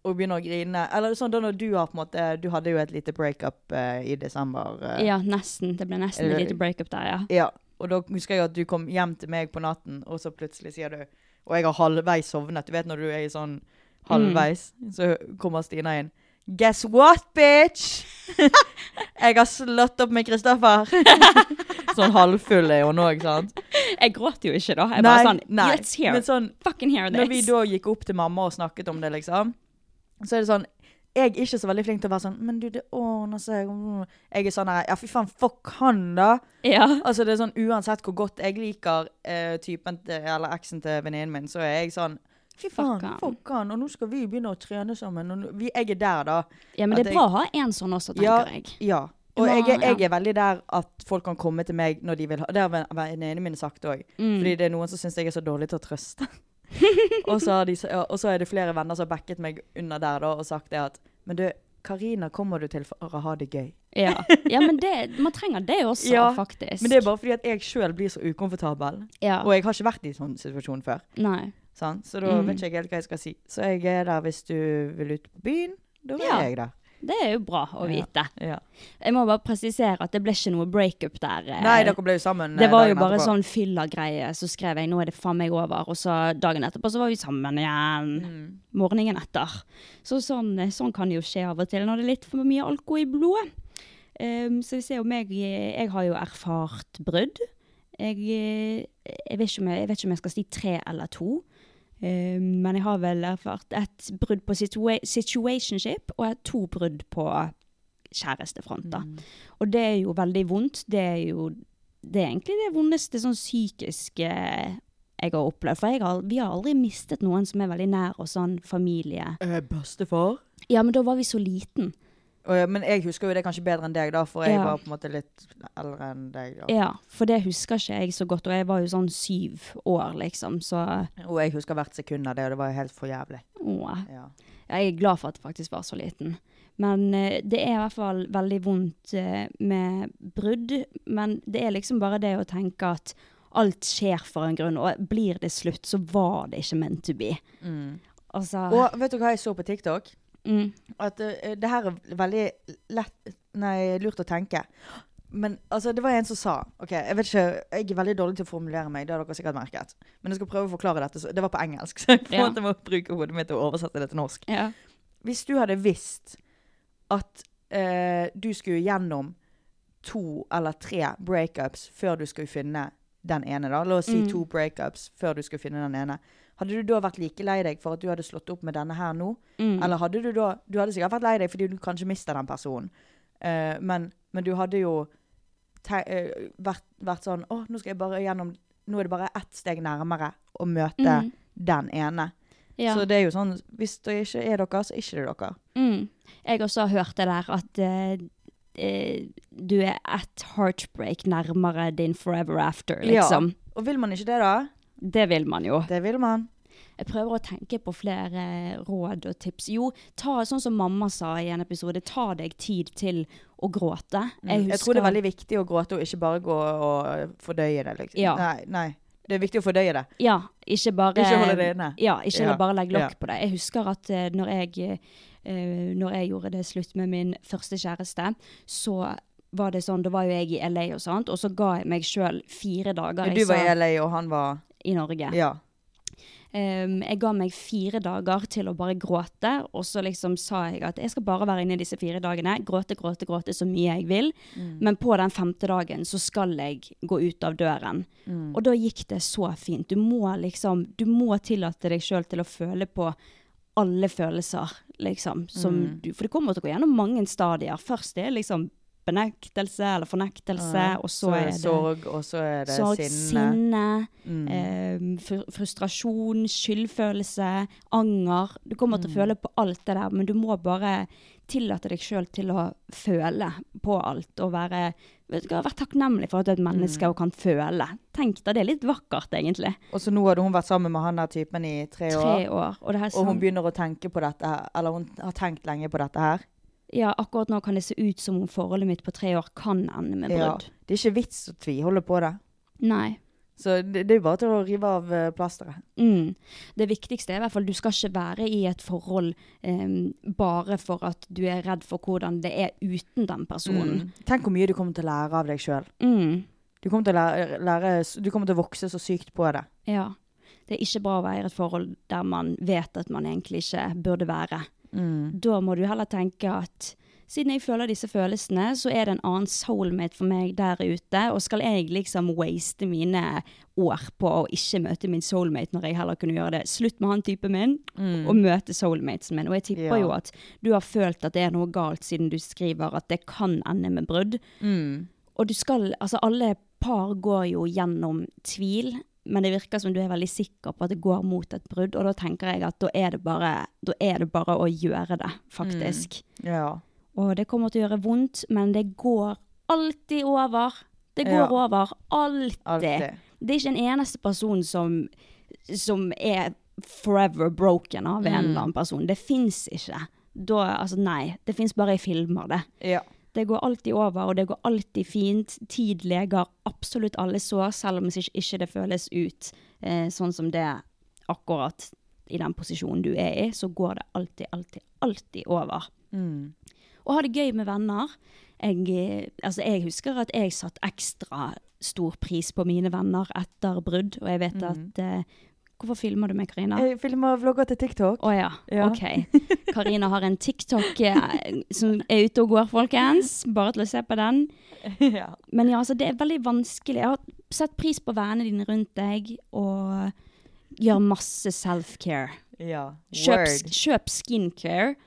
[SPEAKER 2] og begynner å grine Eller sånn da når du har på en måte Du hadde jo et lite breakup eh, i desember. eh,
[SPEAKER 1] Ja, nesten. Det ble nesten et
[SPEAKER 2] Eller-
[SPEAKER 1] lite breakup der, ja.
[SPEAKER 2] ja. Og da husker jeg at du kom hjem til meg på natten, og så plutselig sier du Og jeg har halvveis sovnet. Du vet når du er i sånn
[SPEAKER 1] Mm.
[SPEAKER 2] halvveis, så kommer Stina inn. Guess what,
[SPEAKER 1] *laughs*
[SPEAKER 2] bitch? jeg har slått opp med Kristoffer. sånn halvfull er hun òg, sant?
[SPEAKER 1] Jeg gråt jo ikke da. Jeg bare sånn
[SPEAKER 2] nei.
[SPEAKER 1] Let's hear
[SPEAKER 2] Men sånn,
[SPEAKER 1] fucking hear
[SPEAKER 2] når vi
[SPEAKER 1] this.
[SPEAKER 2] da gikk opp til mamma og snakket om det, liksom, så er det sånn Jeg er ikke så veldig flink til å være sånn Men du, det ordner seg. mm». Jeg er sånn her Ja, fy faen, fuck han, da.
[SPEAKER 1] Ja.
[SPEAKER 2] Altså, det er sånn uansett hvor godt jeg liker eh, typen til, eller eksen til venninnen min, så er jeg sånn Fy faen,
[SPEAKER 1] Fuck han.
[SPEAKER 2] fuck han. Og nå skal vi begynne å trene sammen. Og nå, vi, jeg er der, da.
[SPEAKER 1] ja, men
[SPEAKER 2] At
[SPEAKER 1] det er bra å ha en sånn også, tenker
[SPEAKER 2] Ja,
[SPEAKER 1] jeg.
[SPEAKER 2] ja.
[SPEAKER 1] Du
[SPEAKER 2] Og
[SPEAKER 1] må
[SPEAKER 2] jeg,
[SPEAKER 1] ha-
[SPEAKER 2] er- jeg
[SPEAKER 1] ja.
[SPEAKER 2] er veldig der at folk kan komme til meg når de vil ha Det har ven- venninnene mine sagt òg.
[SPEAKER 1] Mm.
[SPEAKER 2] Fordi det er noen som syns jeg er så dårlig til å
[SPEAKER 1] *laughs*
[SPEAKER 2] trøste. og, så har de, s- ja, og så er det flere venner som har backet meg under der da, og sagt det at Men du, Karina kommer du til for å ha det gøy.
[SPEAKER 1] Ja, ja men det, man trenger det også,
[SPEAKER 2] Ja,
[SPEAKER 1] faktisk.
[SPEAKER 2] Men det er bare fordi at jeg sjøl blir så ukomfortabel.
[SPEAKER 1] Ja.
[SPEAKER 2] Og jeg har ikke vært i sånn situasjon før.
[SPEAKER 1] Nei.
[SPEAKER 2] Sant? Så
[SPEAKER 1] Mm.
[SPEAKER 2] da vet ikke jeg helt hva jeg skal si. Så jeg er der hvis du vil ut på byen. Da er
[SPEAKER 1] Ja.
[SPEAKER 2] jeg der.
[SPEAKER 1] Det er jo bra å vite.
[SPEAKER 2] Ja.
[SPEAKER 1] Jeg må bare presisere at det ble ikke noe breakup der. eh.
[SPEAKER 2] Nei, dere ble jo sammen.
[SPEAKER 1] det
[SPEAKER 2] eh,
[SPEAKER 1] var jo
[SPEAKER 2] dagen
[SPEAKER 1] bare
[SPEAKER 2] etterpå.
[SPEAKER 1] sånn fyllergreie. Så skrev jeg 'nå er det faen meg over', og så dagen etterpå så var vi sammen igjen.
[SPEAKER 2] Mm.
[SPEAKER 1] Morgenen etter. Så sånn, sånn kan jo skje av og til når det er litt for mye alkohol i blodet. Ehm, så vi ser jo meg Jeg har jo erfart brudd. Jeg, eh, jeg, vet ikke om jeg, jeg vet ikke om jeg skal si tre eller to. Ehm, men jeg har vel erfart et brudd på situa situationship og et- to brudd på kjærestefront. da.
[SPEAKER 2] Mm.
[SPEAKER 1] Og det er jo veldig vondt. Det er jo det er egentlig det vondeste sånn psykiske jeg har opplevd. For jeg har, vi har aldri mistet noen som er veldig nær og sånn familie.
[SPEAKER 2] Eh, Bestefar?
[SPEAKER 1] Ja, men da var vi så liten.
[SPEAKER 2] Å ja, men jeg husker jo det kanskje bedre enn deg, da, for jeg
[SPEAKER 1] Ja.
[SPEAKER 2] var på en måte litt eldre enn deg. Da.
[SPEAKER 1] Ja, for det husker ikke jeg så godt. Og jeg var jo sånn syv år, liksom. Så
[SPEAKER 2] Og jeg husker hvert sekund av det, og det var jo helt for jævlig.
[SPEAKER 1] åh.
[SPEAKER 2] Ja.
[SPEAKER 1] Jeg er glad for at jeg faktisk var så liten. Men eh, det er i hvert fall veldig vondt eh, med brudd. Men det er liksom bare det å tenke at alt skjer for en grunn, og blir det slutt, så var det ikke meant to be. Altså
[SPEAKER 2] Og vet du hva jeg så på TikTok?
[SPEAKER 1] mm,
[SPEAKER 2] At eh, det her er veldig lett Nei, lurt å tenke. Men altså, det var en som sa ok, Jeg vet ikke, jeg er veldig dårlig til å formulere meg, det har dere sikkert merket. Men jeg skal prøve å forklare dette. så- Det var på engelsk, så jeg på en
[SPEAKER 1] Ja.
[SPEAKER 2] måte må bruke hodet mitt til å oversette det til norsk.
[SPEAKER 1] ja.
[SPEAKER 2] hvis du hadde visst at eh, du skulle gjennom to eller tre breakups før du skulle finne den ene, da. La oss si
[SPEAKER 1] Mm.
[SPEAKER 2] to breakups før du skulle finne den ene. Hadde du da vært like lei deg for at du hadde slått opp med denne her nå?
[SPEAKER 1] Mm.
[SPEAKER 2] Eller hadde du da Du hadde sikkert vært lei deg fordi du kanskje mista den personen, Eh, men, men du hadde jo te, eh, vært, vært sånn Å, nå skal jeg bare gjennom Nå er det bare ett steg nærmere å møte
[SPEAKER 1] Mm.
[SPEAKER 2] den ene.
[SPEAKER 1] Ja.
[SPEAKER 2] Så det er jo sånn Hvis det ikke er dere, så er ikke det dere.
[SPEAKER 1] mm. Jeg også har hørt det der at eh, eh, du er et heartbreak nærmere din forever after, liksom.
[SPEAKER 2] Og vil man ikke det, da?
[SPEAKER 1] Det vil man jo.
[SPEAKER 2] Det vil man.
[SPEAKER 1] Jeg prøver å tenke på flere eh, råd og tips. Jo, ta, sånn som mamma sa i en episode, ta deg tid til å gråte.
[SPEAKER 2] Mm. Jeg, tror det er veldig viktig å gråte og ikke bare gå og fordøye det. Liksom.
[SPEAKER 1] Ja.
[SPEAKER 2] Nei, nei. Det er viktig å fordøye det.
[SPEAKER 1] Ja, ikke bare
[SPEAKER 2] Ikke holde det inne.
[SPEAKER 1] Ja, ikke
[SPEAKER 2] Ja.
[SPEAKER 1] bare legge lokk
[SPEAKER 2] Ja.
[SPEAKER 1] på det. Jeg husker at eh, når jeg, eh, når jeg gjorde det slutt med min første kjæreste, så var det sånn, da var jo jeg i LA og sånt, og så ga jeg meg sjøl fire dager.
[SPEAKER 2] Du
[SPEAKER 1] Jeg
[SPEAKER 2] var i
[SPEAKER 1] sa-
[SPEAKER 2] LA, og han var
[SPEAKER 1] i Norge.
[SPEAKER 2] Ja.
[SPEAKER 1] Ehm, jeg ga meg fire dager til å bare gråte, og så liksom sa jeg at jeg skal bare være inne i disse fire dagene. Gråte, gråte, gråte så mye jeg vil. Men på den femte dagen så skal jeg gå ut av døren. Og da gikk det så fint. Du må liksom Du må tillate deg sjøl til å føle på alle følelser, liksom. Som du, for du kommer til å gå gjennom mange stadier. Først det er liksom benektelse eller fornektelse, og så,
[SPEAKER 2] Så
[SPEAKER 1] er
[SPEAKER 2] er
[SPEAKER 1] det
[SPEAKER 2] sorg, og så er det
[SPEAKER 1] Sorg,
[SPEAKER 2] sinne. Mm.
[SPEAKER 1] sinne, eh, fr frustrasjon, skyldfølelse, anger. Du kommer til å
[SPEAKER 2] Mm.
[SPEAKER 1] føle på alt det der, men du må bare tillate deg sjøl til å føle på alt. Og være, vet du hva, være takknemlig for at du er et menneske
[SPEAKER 2] Mm.
[SPEAKER 1] og kan føle. Tenk deg, det er litt vakkert, egentlig.
[SPEAKER 2] Og så nå hadde hun vært sammen med han der typen i tre år,
[SPEAKER 1] Tre år. Og, det her,
[SPEAKER 2] og hun
[SPEAKER 1] sånn-
[SPEAKER 2] begynner å tenke på dette her. Eller hun har tenkt lenge på dette her.
[SPEAKER 1] ja, akkurat nå kan det se ut som om forholdet mitt på tre år kan ende med
[SPEAKER 2] Ja.
[SPEAKER 1] brudd.
[SPEAKER 2] Det er ikke vits å tviholde på det.
[SPEAKER 1] Nei.
[SPEAKER 2] Så det, det er jo bare til å rive av eh, plasteret.
[SPEAKER 1] Mm. Det viktigste er i hvert fall du skal ikke være i et forhold em, bare for at du er redd for hvordan det er uten den personen.
[SPEAKER 2] Tenk hvor mye du kommer til å lære av deg sjøl.
[SPEAKER 1] Mm.
[SPEAKER 2] Du kommer til å lære, lære Du kommer til å vokse så sykt på det.
[SPEAKER 1] Ja. Det er ikke bra å være i et forhold der man vet at man egentlig ikke burde være. Da må du heller tenke at siden jeg føler disse følelsene, så er det en annen soulmate for meg der ute, og skal jeg liksom waste mine år på å ikke møte min soulmate når jeg heller kunne gjøre det? Slutt med han typen min, og møte soulmaten min. Og jeg
[SPEAKER 2] Ja.
[SPEAKER 1] tipper jo at du har følt at det er noe galt siden du skriver at det kan ende med brudd. Og du skal, altså alle par går jo gjennom tvil, men det virker som du er veldig sikker på at det går mot et brudd, og da tenker jeg at da er det bare, da er det bare å gjøre det, faktisk.
[SPEAKER 2] Ja.
[SPEAKER 1] Og det kommer til å gjøre vondt, men det går alltid over. Det
[SPEAKER 2] Ja.
[SPEAKER 1] går over, alltid.
[SPEAKER 2] Alltid.
[SPEAKER 1] Det er ikke en eneste person som, som er forever broken av
[SPEAKER 2] Mm.
[SPEAKER 1] en eller annen person. Det fins ikke. Da, altså nei, det fins bare i filmer, det.
[SPEAKER 2] Ja.
[SPEAKER 1] Det går alltid over, og det går alltid fint. Tid leger absolutt alle sår, selv om ikke, ikke det føles ut eh, sånn som det akkurat i den posisjonen du er i, så går det alltid, alltid, alltid over.
[SPEAKER 2] Mm.
[SPEAKER 1] Og ha det gøy med venner. Jeg, eh, altså jeg husker at jeg satt ekstra stor pris på mine venner etter brudd, og jeg vet at eh, Hvorfor filmer du meg, Karina?
[SPEAKER 2] Mhm. Jeg filmer vlogger til TikTok.
[SPEAKER 1] Å ja.
[SPEAKER 2] Ja.
[SPEAKER 1] ok. Karina har en TikTok eh, som er ute og går, folkens. Bare til å se på den.
[SPEAKER 2] *laughs* ja.
[SPEAKER 1] Men ja, altså, det er veldig vanskelig. Jeg har sett pris på vennene dine rundt deg, og gjør masse self-care.
[SPEAKER 2] ja.
[SPEAKER 1] Kjøp,
[SPEAKER 2] Word.
[SPEAKER 1] kjøp skincare.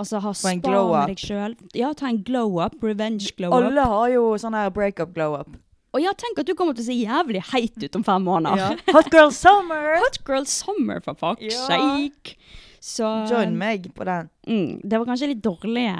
[SPEAKER 1] Altså ha
[SPEAKER 2] Få
[SPEAKER 1] spa
[SPEAKER 2] en glow-up.
[SPEAKER 1] med deg sjøl. Ja, ta en glow-up. Revenge glow-up.
[SPEAKER 2] Alle har jo sånn her breakup glow-up.
[SPEAKER 1] Og ja, tenk at du kommer til å se jævlig heit ut om fem måneder.
[SPEAKER 2] Hot girl summer!
[SPEAKER 1] *laughs* Hot girl summer, for fuck's
[SPEAKER 2] Ja.
[SPEAKER 1] sake! Så
[SPEAKER 2] Join meg på den.
[SPEAKER 1] Mm, det var kanskje litt dårlige,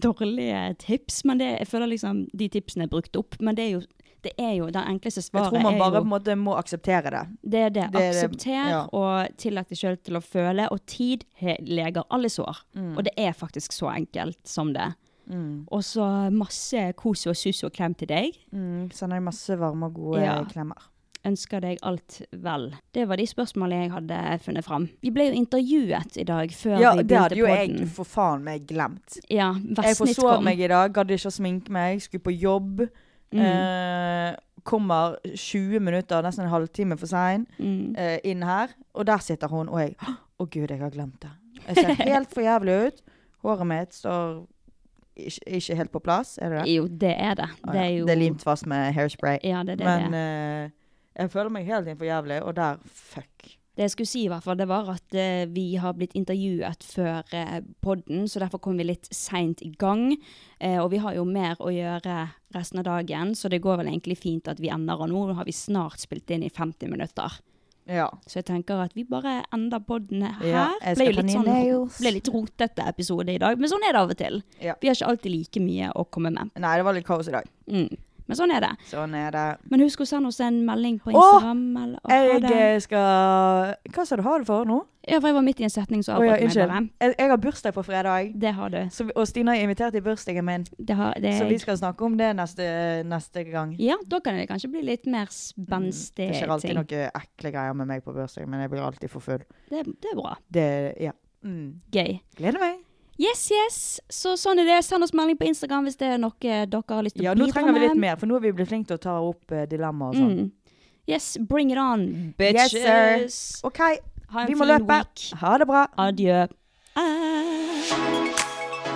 [SPEAKER 1] dårlige tips, men det, jeg føler liksom de tipsene er brukt opp. Men det er jo, det er jo den enkleste
[SPEAKER 2] Jeg
[SPEAKER 1] svaret.
[SPEAKER 2] tror man
[SPEAKER 1] er
[SPEAKER 2] bare
[SPEAKER 1] jo,
[SPEAKER 2] på en måte må akseptere det.
[SPEAKER 1] det er det.
[SPEAKER 2] det er det-
[SPEAKER 1] Aksepter
[SPEAKER 2] ja.
[SPEAKER 1] og tillat deg sjøl til å føle, og tid he- leger alle sår.
[SPEAKER 2] Mm.
[SPEAKER 1] Og det er faktisk så enkelt som det. Og så masse kos og sus og klem til deg.
[SPEAKER 2] Mm, Sender deg masse varme og gode
[SPEAKER 1] Ja.
[SPEAKER 2] klemmer.
[SPEAKER 1] Ønsker deg alt vel. Det var de spørsmålene jeg hadde funnet fram. Vi ble jo intervjuet i dag før
[SPEAKER 2] Ja,
[SPEAKER 1] vi
[SPEAKER 2] det
[SPEAKER 1] begynte
[SPEAKER 2] hadde jo
[SPEAKER 1] podden.
[SPEAKER 2] jeg for faen meg glemt.
[SPEAKER 1] Ja,
[SPEAKER 2] Jeg
[SPEAKER 1] Versnitt
[SPEAKER 2] forsov
[SPEAKER 1] kom. Mm.
[SPEAKER 2] meg i dag, gadd ikke å sminke meg, skulle på jobb. Eh, kommer 20 minutter, nesten en halvtime for sein,
[SPEAKER 1] mm.
[SPEAKER 2] eh, inn her. Og der sitter hun, og jeg Å, gud, jeg har glemt det. Jeg
[SPEAKER 1] *laughs*
[SPEAKER 2] ser helt for jævlig ut. Håret mitt står ikke, ikke helt på plass, er det det?
[SPEAKER 1] Jo, det er det.
[SPEAKER 2] Å,
[SPEAKER 1] Det er
[SPEAKER 2] ja.
[SPEAKER 1] jo
[SPEAKER 2] det er limt fast med hairspray.
[SPEAKER 1] Ja, det er det.
[SPEAKER 2] Men
[SPEAKER 1] det. er.
[SPEAKER 2] eh, jeg føler meg helt inn for jævlig, og der fuck.
[SPEAKER 1] det jeg skulle si, i hvert fall, det var at eh, vi har blitt intervjuet før eh, podden, så derfor kom vi litt seint i gang. Eh, og vi har jo mer å gjøre resten av dagen, så det går vel egentlig fint at vi ender. Og nå har vi snart spilt inn i 50 minutter.
[SPEAKER 2] Ja.
[SPEAKER 1] Så jeg tenker at vi bare ender podden her.
[SPEAKER 2] Ja, jeg skal ta
[SPEAKER 1] ble jo litt,
[SPEAKER 2] nye
[SPEAKER 1] sånn,
[SPEAKER 2] nails.
[SPEAKER 1] ble litt rotete episode i dag, men sånn er det av og til.
[SPEAKER 2] Ja.
[SPEAKER 1] Vi har ikke alltid like mye å komme med.
[SPEAKER 2] Nei, det var litt kaos i dag.
[SPEAKER 1] Mm. Men sånn er det.
[SPEAKER 2] Sånn er det.
[SPEAKER 1] Men husk å sende oss en melding på
[SPEAKER 2] Å,
[SPEAKER 1] Instagram. eller, og ha
[SPEAKER 2] Jeg
[SPEAKER 1] det.
[SPEAKER 2] eh, skal Hva sa du ha det for nå?
[SPEAKER 1] Ja, for jeg var midt i en setning, så
[SPEAKER 2] Å ja,
[SPEAKER 1] avbrøt jeg meg
[SPEAKER 2] unnskyld.
[SPEAKER 1] bare.
[SPEAKER 2] Jeg, jeg har bursdag på fredag,
[SPEAKER 1] Det har du.
[SPEAKER 2] så, vi- og Stina er invitert i bursdagen min.
[SPEAKER 1] Det har, det er
[SPEAKER 2] Så vi
[SPEAKER 1] jeg.
[SPEAKER 2] skal snakke om det neste, neste gang.
[SPEAKER 1] Ja, da kan det kanskje bli litt mer spenstig
[SPEAKER 2] Mm, Det skjer alltid
[SPEAKER 1] ting.
[SPEAKER 2] noen ekle greier med meg på bursdagen, men jeg blir alltid for full.
[SPEAKER 1] Det, det er bra.
[SPEAKER 2] Det, ja. Mm.
[SPEAKER 1] Gøy.
[SPEAKER 2] Gleder meg.
[SPEAKER 1] Yes, yes. Så sånn er det. Send oss melding på Instagram hvis det er noe dere har lyst til
[SPEAKER 2] Ja,
[SPEAKER 1] å
[SPEAKER 2] nå
[SPEAKER 1] bidra
[SPEAKER 2] trenger
[SPEAKER 1] med.
[SPEAKER 2] vi litt mer, for nå er vi blitt flinke til å ta opp eh, dilemmaer og sånn.
[SPEAKER 1] Mm. Yes, bring it on,
[SPEAKER 2] Yes,
[SPEAKER 1] bitches.
[SPEAKER 2] sir. OK,
[SPEAKER 1] Ha en
[SPEAKER 2] vi må
[SPEAKER 1] fin
[SPEAKER 2] løpe.
[SPEAKER 1] week.
[SPEAKER 2] Ha det bra.
[SPEAKER 1] Adjø. Ah.